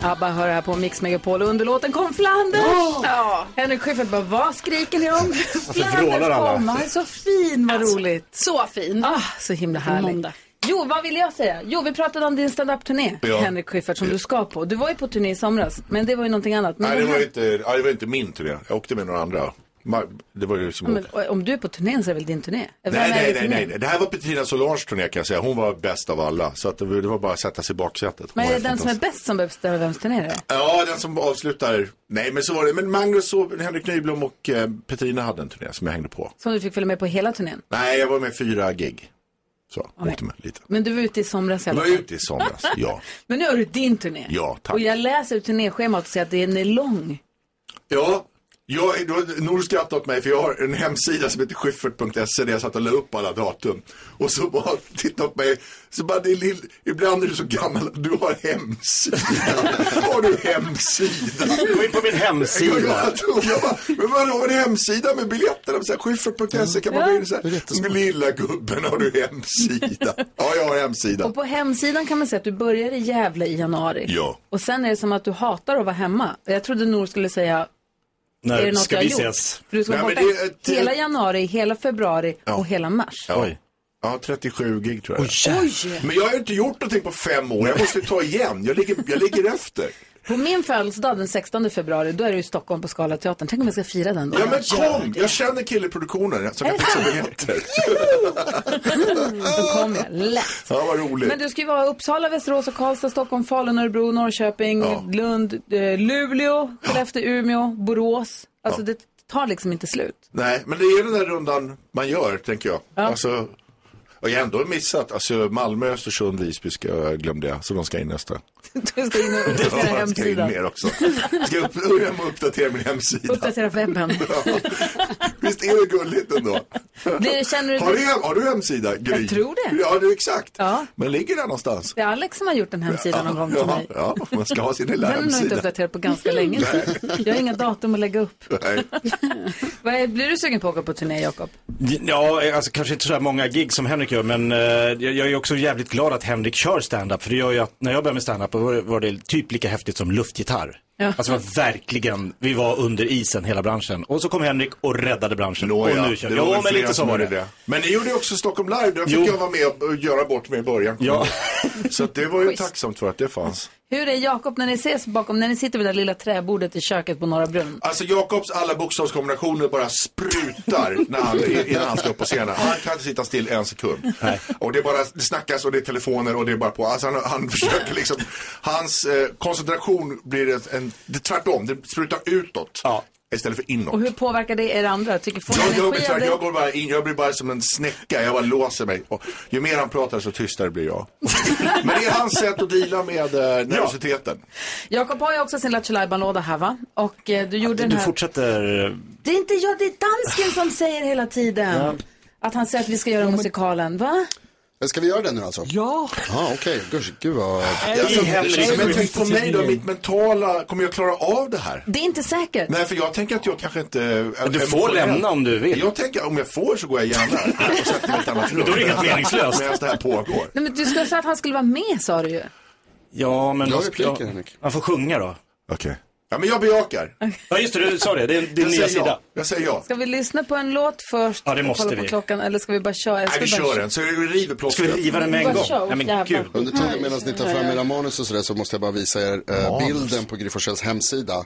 Speaker 2: ABBA hör här på Mix Megapol och under låten kom Flanders.
Speaker 9: Oh!
Speaker 2: Ja. Henrik Schyffert bara, vad skriker ni om?
Speaker 4: vrålar
Speaker 2: Flanders
Speaker 4: alla.
Speaker 2: kom, han är så fin, vad
Speaker 9: Alltså,
Speaker 2: roligt.
Speaker 5: Så fin.
Speaker 2: Ah, så himla härligt.
Speaker 5: måndag.
Speaker 2: Jo, vad ville jag säga? Jo, vi pratade om din standup-turné,
Speaker 9: Ja.
Speaker 2: Henrik Schyffert, som du ska på. Du var ju på turné i somras, men det var ju någonting annat. Men
Speaker 9: Nej, det
Speaker 2: den
Speaker 9: var
Speaker 2: här-
Speaker 9: ju inte, ja, det var inte min turné. Jag åkte med några andra. Ma- Det var ju som...
Speaker 2: Men, och- om du är på turnén så är det väl din turné? Vem
Speaker 9: Nej,
Speaker 2: är i
Speaker 9: nej, nej,
Speaker 2: turnén?
Speaker 9: nej, nej. Det här var Petrina Solanges turné kan jag säga. Hon var bäst av alla. Så att det, det var bara att sätta sig i baksätet.
Speaker 2: Men
Speaker 9: Hon
Speaker 2: är det
Speaker 9: var
Speaker 2: den som är bäst som behöver bestämma vems turné det är?
Speaker 9: Ja, den som avslutar. Nej, men så var det. Men Magnus, och Henrik Nyblom och eh, Petrina hade en turné som jag hängde på.
Speaker 2: Som du fick följa med på hela turnén.
Speaker 9: Nej, jag var med fyra gig. Så, åkte med lite.
Speaker 2: Men du var ute i somras i
Speaker 9: Jag
Speaker 2: alla
Speaker 9: var
Speaker 2: fall.
Speaker 9: ute i somras, ja.
Speaker 2: Men nu har du din turné.
Speaker 9: Ja, tack.
Speaker 2: Och jag läser ur turnéschemat och ser att den är lång.
Speaker 9: Ja, jag, då, Nor skrattade åt mig för jag har en hemsida som heter schyffert.se där jag satt och la upp alla datum. Och så bara tittade på mig, så bara det är lill, ibland är du så gammal att du har hemsida. har du hemsida?
Speaker 4: Gå in på min
Speaker 9: Jag
Speaker 4: hemsida.
Speaker 9: bara, jag bara, men vadå en hemsida med biljetterna? Så här, Schyffert.se E", kan man gå in och säga, lilla gubben har du hemsida? Ja, jag har hemsida.
Speaker 2: Och på hemsidan kan man se att du börjar i Gävle i januari.
Speaker 9: Ja.
Speaker 2: Och sen är det som att du hatar att vara hemma. Jag trodde Nor skulle säga, är det
Speaker 4: När
Speaker 2: något
Speaker 4: ska
Speaker 2: jag
Speaker 4: vi
Speaker 2: har gjort?
Speaker 4: ses?
Speaker 2: För du ska
Speaker 9: Nej,
Speaker 2: vara
Speaker 9: men
Speaker 2: borta
Speaker 9: det är ett-
Speaker 2: hela januari, hela februari och hela mars.
Speaker 9: Ja. ja, 37 gig tror jag.
Speaker 2: Oj!
Speaker 9: Men jag har ju inte gjort någonting på fem år. Jag måste ju ta igen. Jag ligger, jag ligger efter.
Speaker 2: På min födelsedag den 16 februari, då är du i Stockholm på Skala teatern. Tänk om jag ska fira den då.
Speaker 9: Ja men kom! Jag känner kille i produktionen som kan fixa biljetter.
Speaker 2: Då kommer jag. Lätt.
Speaker 9: Ja, vad roligt.
Speaker 2: Men du ska ju vara i Uppsala, Västerås och Karlstad, Stockholm, Falun, Örebro, Norrköping,
Speaker 9: Ja.
Speaker 2: Lund, eh, Luleå, Skellefteå, Umeå, Borås. Alltså det tar liksom inte slut.
Speaker 9: Nej, men det är den där rundan man gör, tänker jag. Alltså, och jag har ändå missat. Alltså Malmö, Östersund, Visby ska, glömde jag. Så de ska in nästa.
Speaker 2: Du ska in och uppdatera
Speaker 9: Ja, jag ska in
Speaker 2: hemsidan.
Speaker 9: mer också. Ska jag upp, börja med att uppdatera min hemsida.
Speaker 2: Uppdatera webben.
Speaker 9: Ja. Visst är det gulligt ändå?
Speaker 2: Blir, känner du
Speaker 9: Har du, hem- har du hemsida, Gry?
Speaker 2: Jag tror det.
Speaker 9: Ja, du, exakt.
Speaker 2: Ja.
Speaker 9: Men ligger den någonstans?
Speaker 2: det är Alex som har gjort den hemsidan någon gång till
Speaker 9: ja,
Speaker 2: mig.
Speaker 9: ja, man ska ha sin lilla
Speaker 2: Den har nog inte
Speaker 9: hemsida.
Speaker 2: uppdaterat på ganska länge. Jag har inga datum att lägga upp.
Speaker 9: Nej.
Speaker 2: Vad är, blir du sugen på att åka på turné, Jakob?
Speaker 4: Ja, alltså kanske inte så där många gig som Henrik gör, men eh, jag, jag är också jävligt glad att Henrik kör stand-up. För det gör ju att när jag började med stand-up var, det- var det typ lika häftigt som luftgitarr. Alltså det var verkligen, vi var under isen hela branschen. Och så kom Henrik och räddade branschen. och
Speaker 9: Nåja,
Speaker 4: nu kör vi.
Speaker 9: det var
Speaker 4: Jo,
Speaker 9: väl
Speaker 4: men
Speaker 9: flera
Speaker 4: lite så
Speaker 9: som
Speaker 4: var det.
Speaker 9: gjorde Men ni gjorde också Stockholm Live, där fick
Speaker 4: Jo.
Speaker 9: jag vara med och göra bort mig i början.
Speaker 4: Ja.
Speaker 9: Så att det var ju tacksamt för att det fanns.
Speaker 2: Hur är Jakob när ni ses bakom, när ni sitter vid det där lilla träbordet i köket på Norra Brunn?
Speaker 9: Alltså Jakobs alla bokstavskombinationer bara sprutar när han, innan han ska upp på scenen. Han kan inte sitta still en sekund. Och det är bara det snackas och det är telefoner och det är bara på. Alltså han, han försöker liksom, hans eh, koncentration blir en, en, det, tvärtom, det sprutar utåt
Speaker 4: Ja.
Speaker 9: istället för inåt.
Speaker 2: Och hur påverkar det er andra? Tycker får ni
Speaker 9: Jag, jag,
Speaker 2: energi
Speaker 9: blir,
Speaker 2: av
Speaker 9: tvärtom.
Speaker 2: det?
Speaker 9: jag, går bara in, jag blir bara som en snäcka, jag bara låser mig. Och ju mer han pratar så tystare blir jag. Men det är hans sätt att deala med eh, nervositeten.
Speaker 2: Jakob har ju också sin Lattjo låda här va? Och eh, du gjorde den
Speaker 4: Du
Speaker 2: här.
Speaker 4: fortsätter
Speaker 2: Det är inte jag, det är dansken som säger hela tiden. Att han säger att vi ska göra musikalen, va?
Speaker 3: Ska vi göra den nu alltså?
Speaker 7: Ja,
Speaker 3: Ja, okej. Gud, Gud vad...
Speaker 4: i
Speaker 9: Ja, Alltså, Men
Speaker 4: Henrik.
Speaker 9: tänk på mig då, mitt mentala, kommer jag klara av det här?
Speaker 2: Det är inte säkert.
Speaker 9: Nej, för jag tänker att jag kanske inte...
Speaker 4: Du får lämna om du vill.
Speaker 9: Jag tänker, om jag får så går jag gärna och sätter mig i ett annat rum.
Speaker 4: Då är det helt meningslöst.
Speaker 9: Medan det här pågår.
Speaker 2: Nej, men du skulle säga att han skulle vara med sa du ju.
Speaker 4: Ja, men...
Speaker 3: Du har
Speaker 4: man ska-
Speaker 3: repliker, Henrik.
Speaker 4: Man får sjunga då.
Speaker 9: Okej. Ja, men jag bejakar.
Speaker 4: Ja, just det, du sa det. Det är din
Speaker 9: Jag
Speaker 4: nya
Speaker 9: säger
Speaker 4: sida.
Speaker 9: ja. Jag säger ja.
Speaker 2: Ska vi lyssna på en låt först?
Speaker 4: Ja, det
Speaker 2: och
Speaker 4: måste
Speaker 2: kolla på
Speaker 4: vi.
Speaker 2: klockan eller ska vi bara köra? Jag
Speaker 9: Nej, vi
Speaker 2: ska bara
Speaker 9: kör den, så vi river
Speaker 4: Ska vi
Speaker 9: plåstret.
Speaker 4: riva den med en
Speaker 2: Bara
Speaker 4: gång?
Speaker 2: kör,
Speaker 4: Nej, men
Speaker 2: jävlar.
Speaker 4: gud.
Speaker 3: Under tiden medan ni tar fram era manus och sådär så måste jag bara visa er eh, bilden på Gry Forssells hemsida.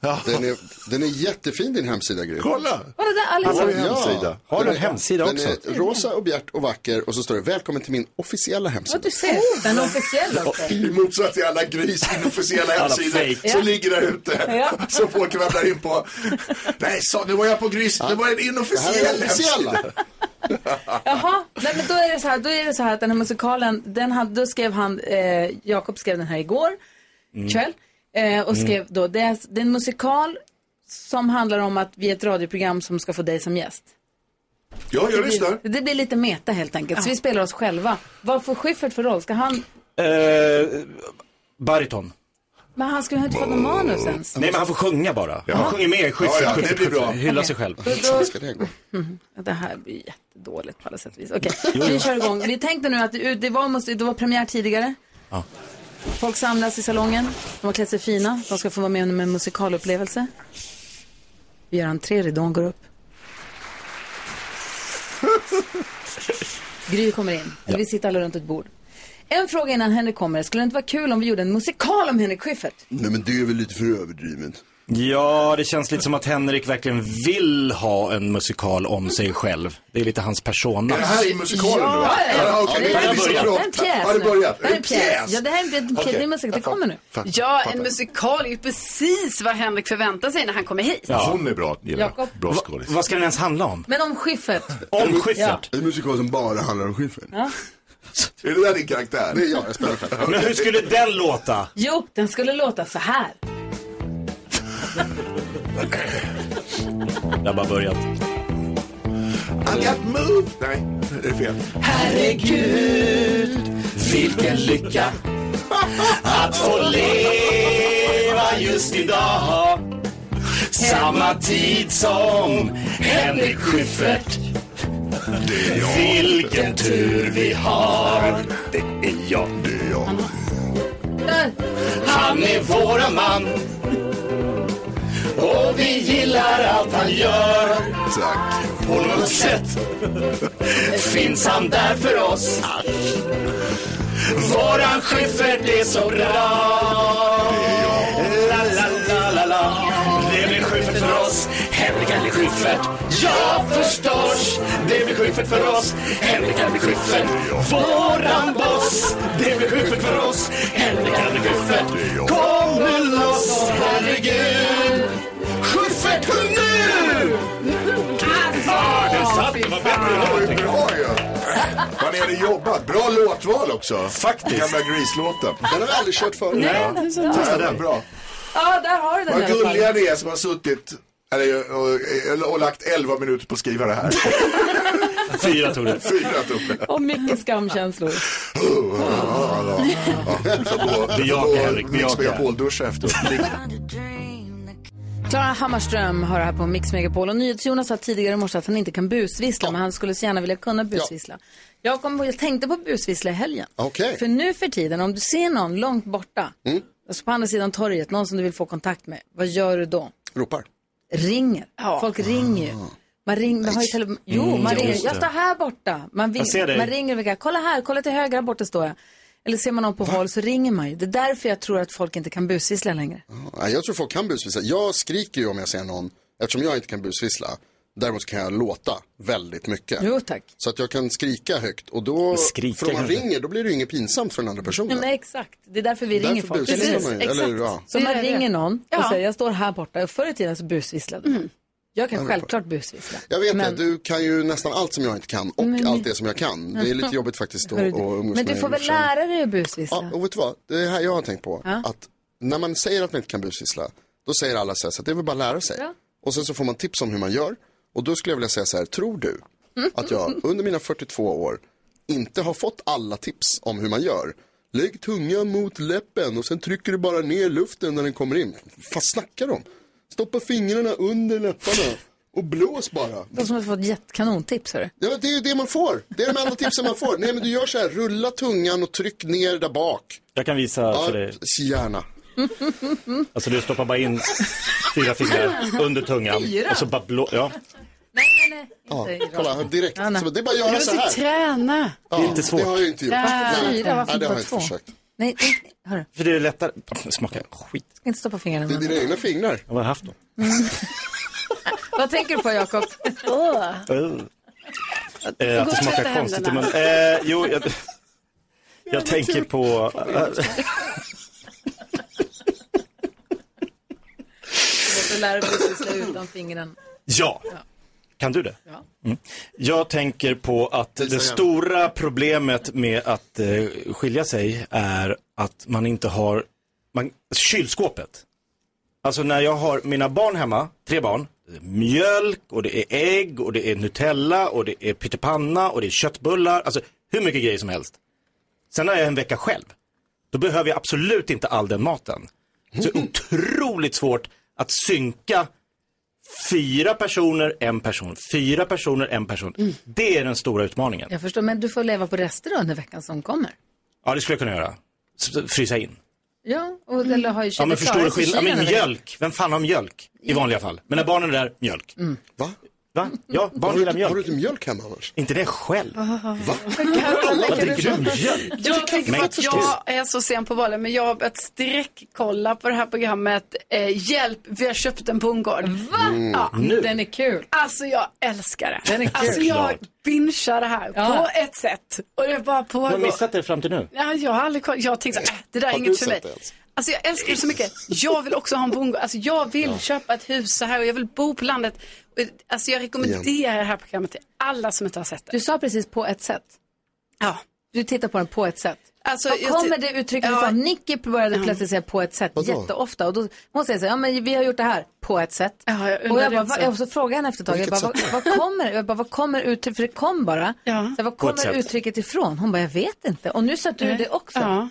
Speaker 9: Ja.
Speaker 3: Den är, den är jättefin din hemsida Gry.
Speaker 9: Kolla!
Speaker 2: Var det där Alex?
Speaker 9: Vår hemsida.
Speaker 4: Har du
Speaker 3: Den
Speaker 4: en
Speaker 3: är-
Speaker 4: hemsida
Speaker 3: den
Speaker 4: också?
Speaker 3: Är eh, rosa och bjärt och vacker och så står det välkommen till min officiella
Speaker 2: Vad
Speaker 3: hemsida.
Speaker 2: du ser, den officiella också.
Speaker 9: I motsats till alla gris inofficiella hemsidor
Speaker 4: fake.
Speaker 9: som
Speaker 2: Ja.
Speaker 9: ligger där ute.
Speaker 2: Ja.
Speaker 9: Som folk ramlar in på. Nej, så, nu var jag på gris. Det var en
Speaker 3: Det här är
Speaker 9: inofficiell
Speaker 3: den
Speaker 9: hemsida.
Speaker 3: officiella.
Speaker 2: Jaha, nej men då är det så här, då är det så här att den här musikalen, den hade, då skrev han, eh, Jakob skrev den här igår kväll eh, och skrev då, det är, det är en musikal som handlar om att vi är ett radioprogram som ska få dig som gäst.
Speaker 9: Ja, jag lyssnar.
Speaker 2: Det blir lite meta helt enkelt. Så vi spelar oss själva. Vad får Schyffert för roll? Ska han...
Speaker 4: Eh, bariton.
Speaker 2: Men han skulle ju inte fått någon manus ens.
Speaker 4: Nej, men han får sjunga bara. Han sjunger med i
Speaker 9: Ja,
Speaker 4: Schyffert.
Speaker 9: ja, det
Speaker 4: Schyffert,
Speaker 9: blir bra.
Speaker 4: Schyffert. Hylla sig själv.
Speaker 3: Sen ska det gå.
Speaker 2: Det här blir jättedåligt på alla sätt och vis. Okej, vi kör igång. Vi tänkte nu att det det var, måste, det var premiär tidigare.
Speaker 4: Ja.
Speaker 2: Folk samlas i salongen. De har klätt sig fina. De ska få vara med om en musikalupplevelse. Vi gör entré, ridån går upp. Gry kommer in. Vi sitter alla runt ett bord. En fråga innan Henrik kommer. Skulle det inte vara kul om vi gjorde en musikal om Henrik Schyffert?
Speaker 3: Nej men det är väl lite för överdrivet.
Speaker 4: Ja, det känns lite som att Henrik verkligen vill ha en musikal om sig själv. Det är lite hans persona.
Speaker 9: Det här är musikalen nu va?
Speaker 2: det
Speaker 9: det
Speaker 2: är
Speaker 9: är
Speaker 2: en
Speaker 9: liksom
Speaker 2: pjäs.
Speaker 9: bra.
Speaker 2: Det är en pjäs
Speaker 9: Har det
Speaker 2: nu.
Speaker 9: börjat?
Speaker 2: Det är en pjäs. Ja, det här är en pjäs. Det är musik. Det kommer nu.
Speaker 5: Ja, en musikal är ju precis vad Henrik förväntar sig när han kommer hit.
Speaker 9: Ja. Hon är bra, gillar jag.
Speaker 2: Jakob.
Speaker 9: Bra skådis.
Speaker 4: Vad ska den ens handla om?
Speaker 2: Men om Schyffert.
Speaker 4: Om Schyffert?
Speaker 3: En musikal som bara handlar om Schyffert.
Speaker 9: Är det där din karaktär?
Speaker 3: Det är jag, jag spelar själv.
Speaker 4: Men hur skulle den låta?
Speaker 2: Jo, den skulle låta så här.
Speaker 4: Jag har bara börjat.
Speaker 9: I got moved. Nej, det är fel.
Speaker 4: Vilken lycka att få leva just idag Samma tid som Henrik Schyffert Vilken tur vi har Det är jag, det är jag
Speaker 2: Där.
Speaker 4: Han är våran man och vi gillar allt han gör
Speaker 3: Tack.
Speaker 4: På något sätt finns han där för oss Våran Schyffert är så bra La, la, la, la, la Det blir Schyffert för oss Henrik han blir Schyffert Ja, förstås Det blir Schyffert för oss Henrik han blir Schyffert Våran boss Det blir Schyffert för oss Henrik han blir Schyffert Kom nu loss, herregud Schyffert, sjung nu! Ah, den satt, det var bättre än
Speaker 9: Bra ju! Vad ni hade jobbat. Bra låtval också.
Speaker 4: Faktiskt.
Speaker 9: Gamla Grease-låten.
Speaker 3: Den har vi aldrig kört förut. Nej.
Speaker 9: Testa den. Bra.
Speaker 2: Ja, där har du den i
Speaker 9: Vad
Speaker 2: alla fall.
Speaker 9: gulliga ni är som har suttit eller, och, och, och lagt 11 minuter på att skriva det här.
Speaker 4: Fyra tog det.
Speaker 9: Fyra tummar.
Speaker 2: Och mycket skamkänslor.
Speaker 4: Bejaka, Henrik,
Speaker 9: Mix
Speaker 4: bejaka.
Speaker 9: Megapol-duscha efteråt.
Speaker 2: Klara Hammarström har det här på Mix Megapol. Och NyhetsJonas sa tidigare i morse att han inte kan busvissla, men han skulle så gärna vilja kunna busvissla. Jag, kom, jag tänkte på busvissla i helgen.
Speaker 3: Okej.
Speaker 2: För nu för tiden, om du ser någon långt borta,
Speaker 9: Mm.
Speaker 2: alltså på andra sidan torget, någon som du vill få kontakt med, vad gör du då?
Speaker 3: Ropar.
Speaker 2: Ringer. Folk ringer ju. Man ringer, man har ju tele- jo, man ringer. Jag står här borta. Man, vill,
Speaker 4: Jag ser dig.
Speaker 2: man ringer och vill, kolla här, kolla till höger, här borta står jag. Eller ser man någon på håll så ringer man ju. Det är därför jag tror att folk inte kan busvissla längre.
Speaker 3: Nej, jag tror folk kan busvissla. Jag skriker ju om jag ser någon, eftersom jag inte kan busvissla. Däremot kan jag låta väldigt mycket.
Speaker 2: Jo tack.
Speaker 3: Så att jag kan skrika högt och då,
Speaker 4: skrika
Speaker 3: för om man
Speaker 4: kanske.
Speaker 3: ringer, då blir det ju inget pinsamt för den andra personen.
Speaker 2: Nej, men exakt, det är därför vi ringer folk.
Speaker 3: busvisslar
Speaker 2: eller hur?
Speaker 3: man
Speaker 5: Precis,
Speaker 3: ju. Eller, ja.
Speaker 2: Så
Speaker 5: Det
Speaker 2: man
Speaker 5: är det.
Speaker 2: ringer någon och
Speaker 5: Ja.
Speaker 2: säger jag står här borta. Och Förr i tiden så busvisslade man. Jag kan självklart busvissla.
Speaker 3: Jag vet
Speaker 2: men,
Speaker 3: det, du kan ju nästan allt som jag inte kan och allt det som jag kan. Det är lite jobbigt faktiskt att att
Speaker 2: hör du,
Speaker 3: umgås
Speaker 2: men du
Speaker 3: med
Speaker 2: får väl
Speaker 3: brorsan.
Speaker 2: lära dig att
Speaker 3: Ja,
Speaker 2: busvissla.
Speaker 3: och vet du vad? Det är det här jag har tänkt på. Att när man säger att man inte kan busvissla, då säger alla så här, så att det är väl bara att lära sig. Och sen så får man tips om hur man gör. Och då skulle jag vilja säga så här, tror du att jag under mina 42 år inte har fått alla tips om hur man gör? Lägg tungan mot läppen och sen trycker du bara ner luften när den kommer in. Vad snackar de? Stoppa fingrarna under läpparna och blås bara.
Speaker 2: De som har fått jättekanontips hörru.
Speaker 3: Ja, men det är ju det man får. Det är de enda tipsen man får. Nej, men du gör så här, rulla tungan och tryck ner där bak.
Speaker 4: Jag kan visa för
Speaker 3: Ja,
Speaker 4: dig.
Speaker 3: gärna.
Speaker 4: Alltså du stoppar bara in fyra fingrar under tungan.
Speaker 2: Fyra?
Speaker 4: Och så bara blå... Ja.
Speaker 2: Nej, nej,
Speaker 3: Ja,
Speaker 2: nej. Inte i
Speaker 3: kolla,
Speaker 2: radio.
Speaker 3: direkt.
Speaker 2: Ja, nej.
Speaker 3: Så det är bara att göra
Speaker 5: Du
Speaker 3: så
Speaker 5: måste
Speaker 3: här.
Speaker 5: träna. Äh.
Speaker 3: Ja,
Speaker 4: Det är inte svårt.
Speaker 3: Det har jag inte gjort.
Speaker 5: Där.
Speaker 3: Nej,
Speaker 2: Fyra, varför
Speaker 3: nej, det har
Speaker 2: bara
Speaker 3: jag
Speaker 2: två?
Speaker 3: inte försökt.
Speaker 2: Nej, nej, hörru.
Speaker 4: För det är lättare. Smakar skit.
Speaker 2: Ska inte stoppa fingrarna.
Speaker 3: Det är dina egna fingrar.
Speaker 4: Jag har haft dem.
Speaker 2: Vad tänker du på Jakob?
Speaker 4: Eh, att det
Speaker 5: tvätta
Speaker 4: smakar konstigt i
Speaker 5: händerna.
Speaker 4: munnen. Eh, jo, jag, jag tänker på... eh,
Speaker 2: Låt lära dig busvissla utan fingrarna.
Speaker 4: Ja. Kan du det? Ja. Mm. Jag tänker på att det stora problemet med att eh, skilja sig är att man inte har man, kylskåpet. Alltså när jag har mina barn hemma, tre barn, det är mjölk och det är ägg och det är Nutella och det är pyttipanna och det är köttbullar, alltså hur mycket grejer som helst. Sen när jag är en vecka själv, då behöver jag absolut inte all den maten. Så det är otroligt svårt att synka fyra personer, en person, fyra personer, en person.
Speaker 2: Mm.
Speaker 4: Det är den stora utmaningen.
Speaker 2: Jag förstår, men du får leva på rester då under veckan som kommer.
Speaker 4: Ja, det skulle jag kunna göra. S- Frysa in.
Speaker 2: Ja, och, eller har ju
Speaker 4: Ja, men
Speaker 2: det
Speaker 4: förstår
Speaker 2: klarar
Speaker 4: du
Speaker 2: sig i
Speaker 4: skillnaden? Ja,
Speaker 2: kylen
Speaker 4: men
Speaker 2: över veckan.
Speaker 4: mjölk. Vem fan har mjölk? I vanliga fall. Men när barnen är där, mjölk.
Speaker 2: Mm.
Speaker 9: Va?
Speaker 4: Va? Ja, barn
Speaker 9: Har
Speaker 4: gillar
Speaker 9: du, har du
Speaker 4: mjölk.
Speaker 9: inte mjölk hemma annars?
Speaker 4: Inte det själv.
Speaker 9: Va?
Speaker 4: Vad dricker du mjölk?
Speaker 5: Jag tycker
Speaker 4: Men-
Speaker 5: att jag är så sen på bollen, men jag har börjat sträckkolla på det här programmet. Eh, hjälp, vi har köpt en bondgård.
Speaker 2: Mm.
Speaker 5: Va? Ja.
Speaker 2: Den är kul.
Speaker 5: Alltså jag älskar det.
Speaker 2: Den är kul.
Speaker 5: alltså jag
Speaker 4: Klart.
Speaker 5: bingear det här
Speaker 2: Ja.
Speaker 5: på ett sätt. Och det bara
Speaker 4: Du har
Speaker 5: pågår.
Speaker 4: missat det fram till nu.
Speaker 5: Ja, jag har aldrig kollat. Jag tänkte så här, äh, det där är
Speaker 9: Har du
Speaker 5: inget för
Speaker 9: sett
Speaker 5: mig.
Speaker 9: det ens?
Speaker 5: Alltså jag älskar det så mycket. Jag vill också ha en bondgård. Alltså jag vill köpa ett hus så här och jag vill bo på landet. Och, Alltså jag rekommenderar det här programmet till alla som inte har sett det.
Speaker 2: Du sa precis på ett sätt.
Speaker 5: Ja.
Speaker 2: Du tittar på den på ett sätt.
Speaker 5: Alltså,
Speaker 2: Var
Speaker 5: jag-
Speaker 2: kommer det uttrycket
Speaker 5: Ja.
Speaker 2: ifrån? Nicky började plötsligt säga på ett sätt
Speaker 9: Vadå?
Speaker 2: jätteofta. Och då måste jag säga, ja men vi har gjort det här på ett sätt.
Speaker 5: Ja, jag
Speaker 2: och
Speaker 5: undrar
Speaker 2: jag bara,
Speaker 5: det
Speaker 2: va,
Speaker 5: också.
Speaker 2: jag så frågade henne efter ett tag, jag bara,
Speaker 9: Vilket
Speaker 2: vad, vad kommer, jag bara, vad kommer uttrycket, för det kom bara.
Speaker 5: Ja.
Speaker 2: Så jag, vad
Speaker 4: På ett
Speaker 2: kommer
Speaker 4: sätt.
Speaker 2: uttrycket ifrån? Hon bara, jag vet inte. Och nu satte du det också.
Speaker 5: Ja.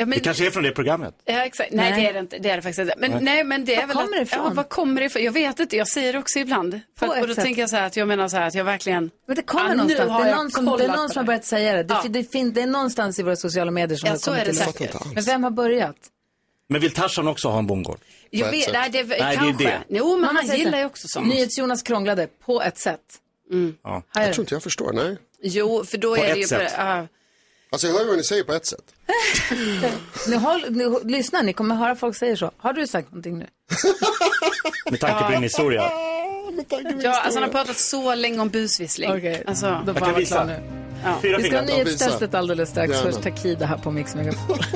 Speaker 5: Ja, men,
Speaker 4: Det kanske är från det programmet.
Speaker 5: Ja, exakt. Nej,
Speaker 2: Nej.
Speaker 5: det är det inte. Det är det faktiskt inte. Men, nej. men det är
Speaker 2: Var
Speaker 5: väl
Speaker 2: kommer det
Speaker 5: att,
Speaker 2: ifrån?
Speaker 5: ja, vad kommer det ifrån? Jag vet inte. Jag säger det också ibland. För
Speaker 2: På
Speaker 5: att, och
Speaker 2: ett
Speaker 5: då
Speaker 2: sätt.
Speaker 5: tänker jag så här att jag menar så här att jag verkligen...
Speaker 2: Men det
Speaker 5: Ja,
Speaker 2: kommer
Speaker 5: nu
Speaker 2: någonstans.
Speaker 5: har
Speaker 2: Det är
Speaker 5: jag
Speaker 2: någon, som, det är
Speaker 5: kollat
Speaker 2: någon
Speaker 5: på
Speaker 2: som har
Speaker 5: det.
Speaker 2: börjat säga det. Det,
Speaker 5: Ja.
Speaker 2: fin- det, fin- det är någonstans i våra sociala medier som
Speaker 5: Ja,
Speaker 2: det
Speaker 5: så
Speaker 2: kommer
Speaker 5: är det
Speaker 2: till.
Speaker 9: Jag
Speaker 2: oss.
Speaker 9: fattar inte alls.
Speaker 2: Men vem har börjat?
Speaker 4: Men vill Tarzan också ha en bondgård?
Speaker 5: Jag
Speaker 9: ett
Speaker 5: vet,
Speaker 9: sätt.
Speaker 5: nej, det,
Speaker 4: det är
Speaker 5: kanske.
Speaker 4: det.
Speaker 5: Jo, men
Speaker 2: Mamma
Speaker 5: man
Speaker 2: säger så
Speaker 5: gillar
Speaker 2: här,
Speaker 5: ju också sånt.
Speaker 2: NyhetsJonas krånglade på ett sätt.
Speaker 4: Ja.
Speaker 2: Här är
Speaker 9: Jag tror
Speaker 2: det.
Speaker 9: inte jag förstår, nej.
Speaker 5: Jo, för då är
Speaker 4: ett
Speaker 5: det ju...
Speaker 4: sätt.
Speaker 5: ja.
Speaker 9: Alltså jag hör ju vad ni säger på ett sätt.
Speaker 2: Ni håll, ni, håll- lyssna, ni kommer höra folk säga så. Har du sagt någonting nu?
Speaker 4: Med tanke på din historia.
Speaker 5: ja, alltså han har pratat så länge om busvissling.
Speaker 2: Okej.
Speaker 5: Alltså,
Speaker 2: Då får
Speaker 4: kan
Speaker 2: han vara
Speaker 4: visa.
Speaker 2: klar nu.
Speaker 4: Fyra
Speaker 2: Vi ska ha
Speaker 4: fingrar.
Speaker 2: nyhetstestet alldeles strax.
Speaker 9: Gärna.
Speaker 2: Först Takida här på Mix Megapol.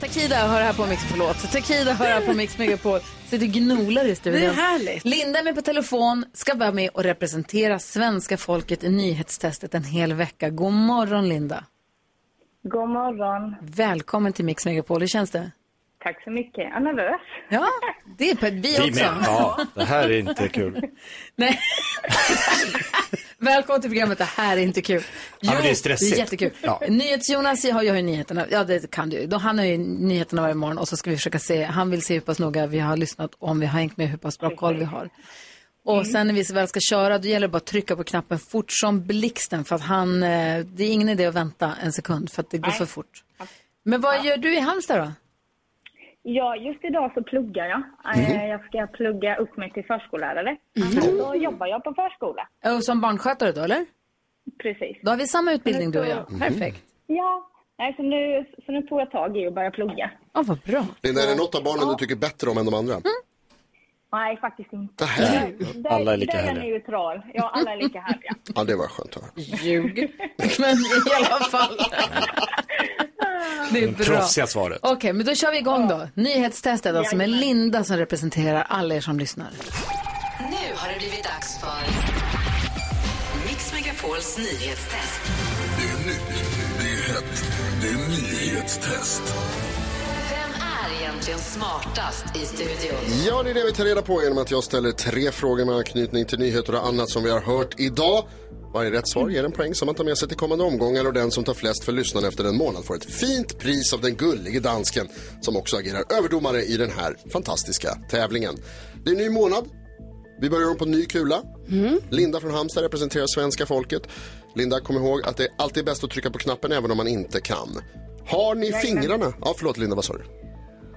Speaker 2: Takida hör här på Mix, förlåt. Takida hör här på Mix Megapol. Sitter och gnolar i studion.
Speaker 5: Det är härligt.
Speaker 2: Linda är med på telefon, ska vara med och representera svenska folket i nyhetstestet en hel vecka. God morgon Linda.
Speaker 10: God morgon.
Speaker 2: Välkommen till Mix Megapol, hur känns det?
Speaker 10: Tack så mycket. Jag är nervös.
Speaker 2: Ja, det är på, vi också.
Speaker 4: Vi med. Ja, det här är inte kul.
Speaker 2: Nej. Välkommen till programmet, det här är inte kul. Jo,
Speaker 4: men det är stressigt.
Speaker 2: Det är jättekul.
Speaker 4: Ja.
Speaker 2: NyhetsJonas jag har- jag har ju nyheterna, ja det kan du ju. Då- Han har ju nyheterna varje morgon och så ska vi försöka se, han vill se hur pass noga vi har lyssnat och om vi har hängt med hur pass
Speaker 4: Mm.
Speaker 2: bra koll vi har. Och sen när vi väl ska köra, då gäller det bara att trycka på knappen fort som blixten för att han, eh, det är ingen idé att vänta en sekund för att det går för fort. Men vad gör du i Halmstad då?
Speaker 10: Ja, just idag så pluggar jag. Eh, Jag ska plugga upp mig till förskollärare. Annars så jobbar jag på förskola.
Speaker 2: Eh, Och som barnskötare då eller?
Speaker 10: Precis.
Speaker 2: Då har vi samma utbildning du och jag. Perfekt.
Speaker 4: Mm.
Speaker 10: Ja, nej, så, nu, så nu tog jag tag i och började plugga.
Speaker 2: Ja, vad bra.
Speaker 9: Linda, är det något av barnen du tycker bättre om än de andra?
Speaker 10: Nej, faktiskt
Speaker 9: Det
Speaker 10: inte.
Speaker 9: här.
Speaker 10: Där,
Speaker 4: Alla är lika
Speaker 10: där är
Speaker 4: härliga.
Speaker 10: neutral. Ja, alla är lika härliga.
Speaker 9: Ja, det var skönt att höra.
Speaker 2: ljug. Men i alla fall. Det är bra.
Speaker 4: Proffsiga svaret.
Speaker 2: Okej, men då kör vi igång då. Nyhetstestet alltså med Linda som representerar alla er som lyssnar.
Speaker 6: Nu har det blivit dags för Mix Megapols nyhetstest. Det är nytt, det är hett, det är nyhetstest. Vem är egentligen smartast i studion?
Speaker 9: Ja, det är det vi tar reda på genom att jag ställer tre frågor med anknytning till nyheter och annat som vi har hört idag. Varje rätt svar ger en poäng som man tar med sig till kommande omgångar och den som tar flest för lyssnarna efter en månad får ett fint pris av den gullige dansken som också agerar överdomare i den här fantastiska tävlingen. Det är en ny månad. Vi börjar om på ny kula. Linda från Halmstad representerar svenska folket. Linda, kom ihåg att det alltid är bäst att trycka på knappen även om man inte kan. Har ni fingrarna? Ja, förlåt Linda, vad sa du?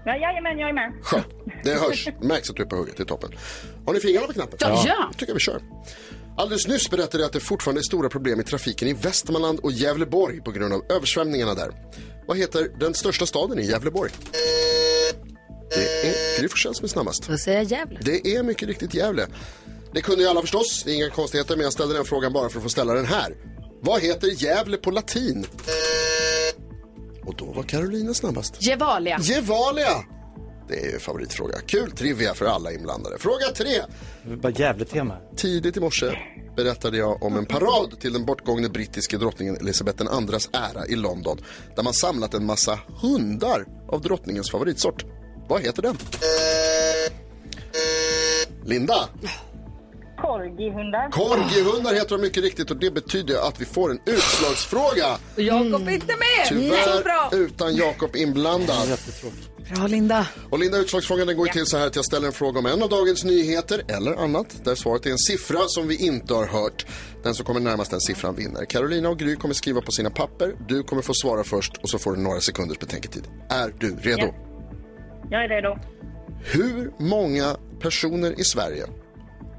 Speaker 10: Ja, jajamän, jag är med.
Speaker 9: Skönt. Det hörs. Det märks att du är på hugget. Det är toppen. Har ni fingrarna på knappen? Ja.
Speaker 5: Ja.
Speaker 9: tycker jag vi kör. Alldeles nyss berättade jag att det fortfarande är stora problem i trafiken i Västmanland och Gävleborg på grund av översvämningarna där. Vad heter den största staden i Gävleborg? Det är Gry Forssell som är snabbast.
Speaker 2: Då säger jag Gävle.
Speaker 9: Det är mycket riktigt Gävle. Det kunde ju alla förstås, det är inga konstigheter, men jag ställde den frågan bara för att få ställa den här. Vad heter Gävle på latin? Och då var Carolina snabbast.
Speaker 5: Gevalia.
Speaker 9: Gevalia! Det är ju favoritfråga. Kul trivia för alla inblandade. Fråga tre.
Speaker 4: Vad jävligt tema.
Speaker 9: Tidigt i morse berättade jag om en parad till den bortgångne brittiske drottningen Elizabeth IIs ära i London där man samlat en massa hundar av drottningens favoritsort. Vad heter den? Linda?
Speaker 10: Korgihundar.
Speaker 9: Korgihundar heter de mycket riktigt och det betyder att vi får en utslagsfråga.
Speaker 2: Och Jakob är inte med! Nej, bra.
Speaker 9: Tyvärr utan Jakob inblandad.
Speaker 2: Bra Linda.
Speaker 9: Och Linda, utslagsfrågan den går ju till så här att jag ställer en fråga om en av dagens nyheter eller annat där svaret är en siffra som vi inte har hört. Den som kommer närmast den siffran vinner. Carolina och Gry kommer skriva på sina papper. Du kommer få svara först och så får du några sekunders betänketid. Är du redo?
Speaker 10: Jag är redo.
Speaker 9: Hur många personer i Sverige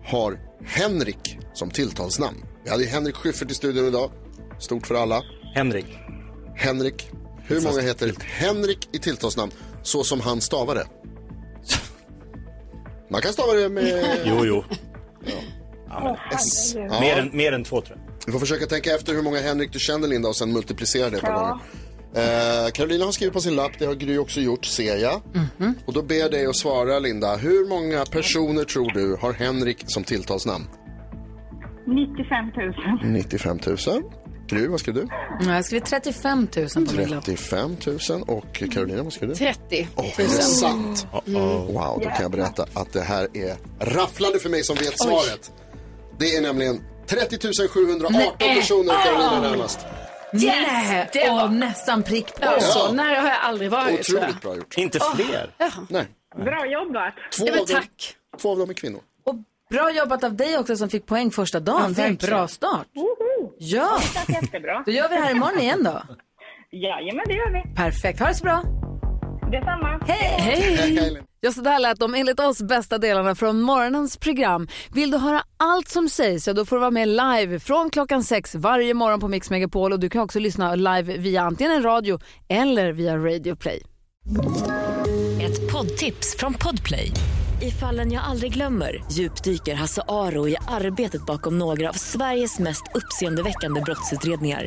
Speaker 9: har Henrik som tilltalsnamn? Vi hade ju Henrik Schyffert i studion idag. Stort för alla.
Speaker 4: Henrik.
Speaker 9: Henrik. Hur många heter Henrik i tilltalsnamn så som han stavar det? Man kan stava det med...
Speaker 4: Jo, jo.
Speaker 10: Åh, herregud.
Speaker 9: Ja.
Speaker 4: Mer, än, mer än två tror jag.
Speaker 9: Du får försöka tänka efter hur många Henrik du känner Linda och sen multiplicera det ett par
Speaker 10: Ja.
Speaker 9: gånger. Eh, Carolina har skrivit på sin lapp, det har Gry också gjort ser jag. Och då ber jag dig att svara Linda, hur många personer tror du har Henrik som tilltalsnamn?
Speaker 10: 95 000.
Speaker 9: 95 000. Gry, vad skrev du?
Speaker 2: Nu har jag skrivit 35 000 på min lapp.
Speaker 9: 35 000. Och Carolina, vad skrev du?
Speaker 5: 30.
Speaker 9: Åh, är det sant?
Speaker 4: Mm.
Speaker 9: Wow, då kan jag berätta att det här är rafflande för mig som vet svaret. Det är nämligen 30 718 personer
Speaker 5: Ah.
Speaker 9: Carolina närmast.
Speaker 2: Nej,
Speaker 5: det var-
Speaker 2: och nästan prick Alltså, på.
Speaker 5: Så
Speaker 9: Ja.
Speaker 5: nära har jag aldrig varit. tror jag.
Speaker 9: Otroligt bra gjort.
Speaker 4: Inte fler.
Speaker 9: Nej,
Speaker 10: Bra jobbat.
Speaker 9: två,
Speaker 5: Ja, men
Speaker 9: av dem,
Speaker 5: tack.
Speaker 9: två av dem är kvinnor.
Speaker 2: Och bra jobbat av dig också som fick poäng första dagen. det är en bra start.
Speaker 10: Woho!
Speaker 2: Ja,
Speaker 10: Tack jättebra.
Speaker 2: då gör vi det här imorgon igen då.
Speaker 10: Jajamän, det gör vi.
Speaker 2: Perfekt, ha det så bra.
Speaker 10: Detsamma.
Speaker 2: Hej! Ja, så där lät de enligt oss bästa delarna från morgonens program. Vill du höra allt som sägs, ja, då får du vara med live från klockan sex varje morgon på Mix Megapol. Och du kan också lyssna live via antingen en radio eller via Radio Play.
Speaker 6: Ett poddtips från Podplay. I fallen jag aldrig glömmer djupdyker Hasse Aro i arbetet bakom några av Sveriges mest uppseendeväckande brottsutredningar.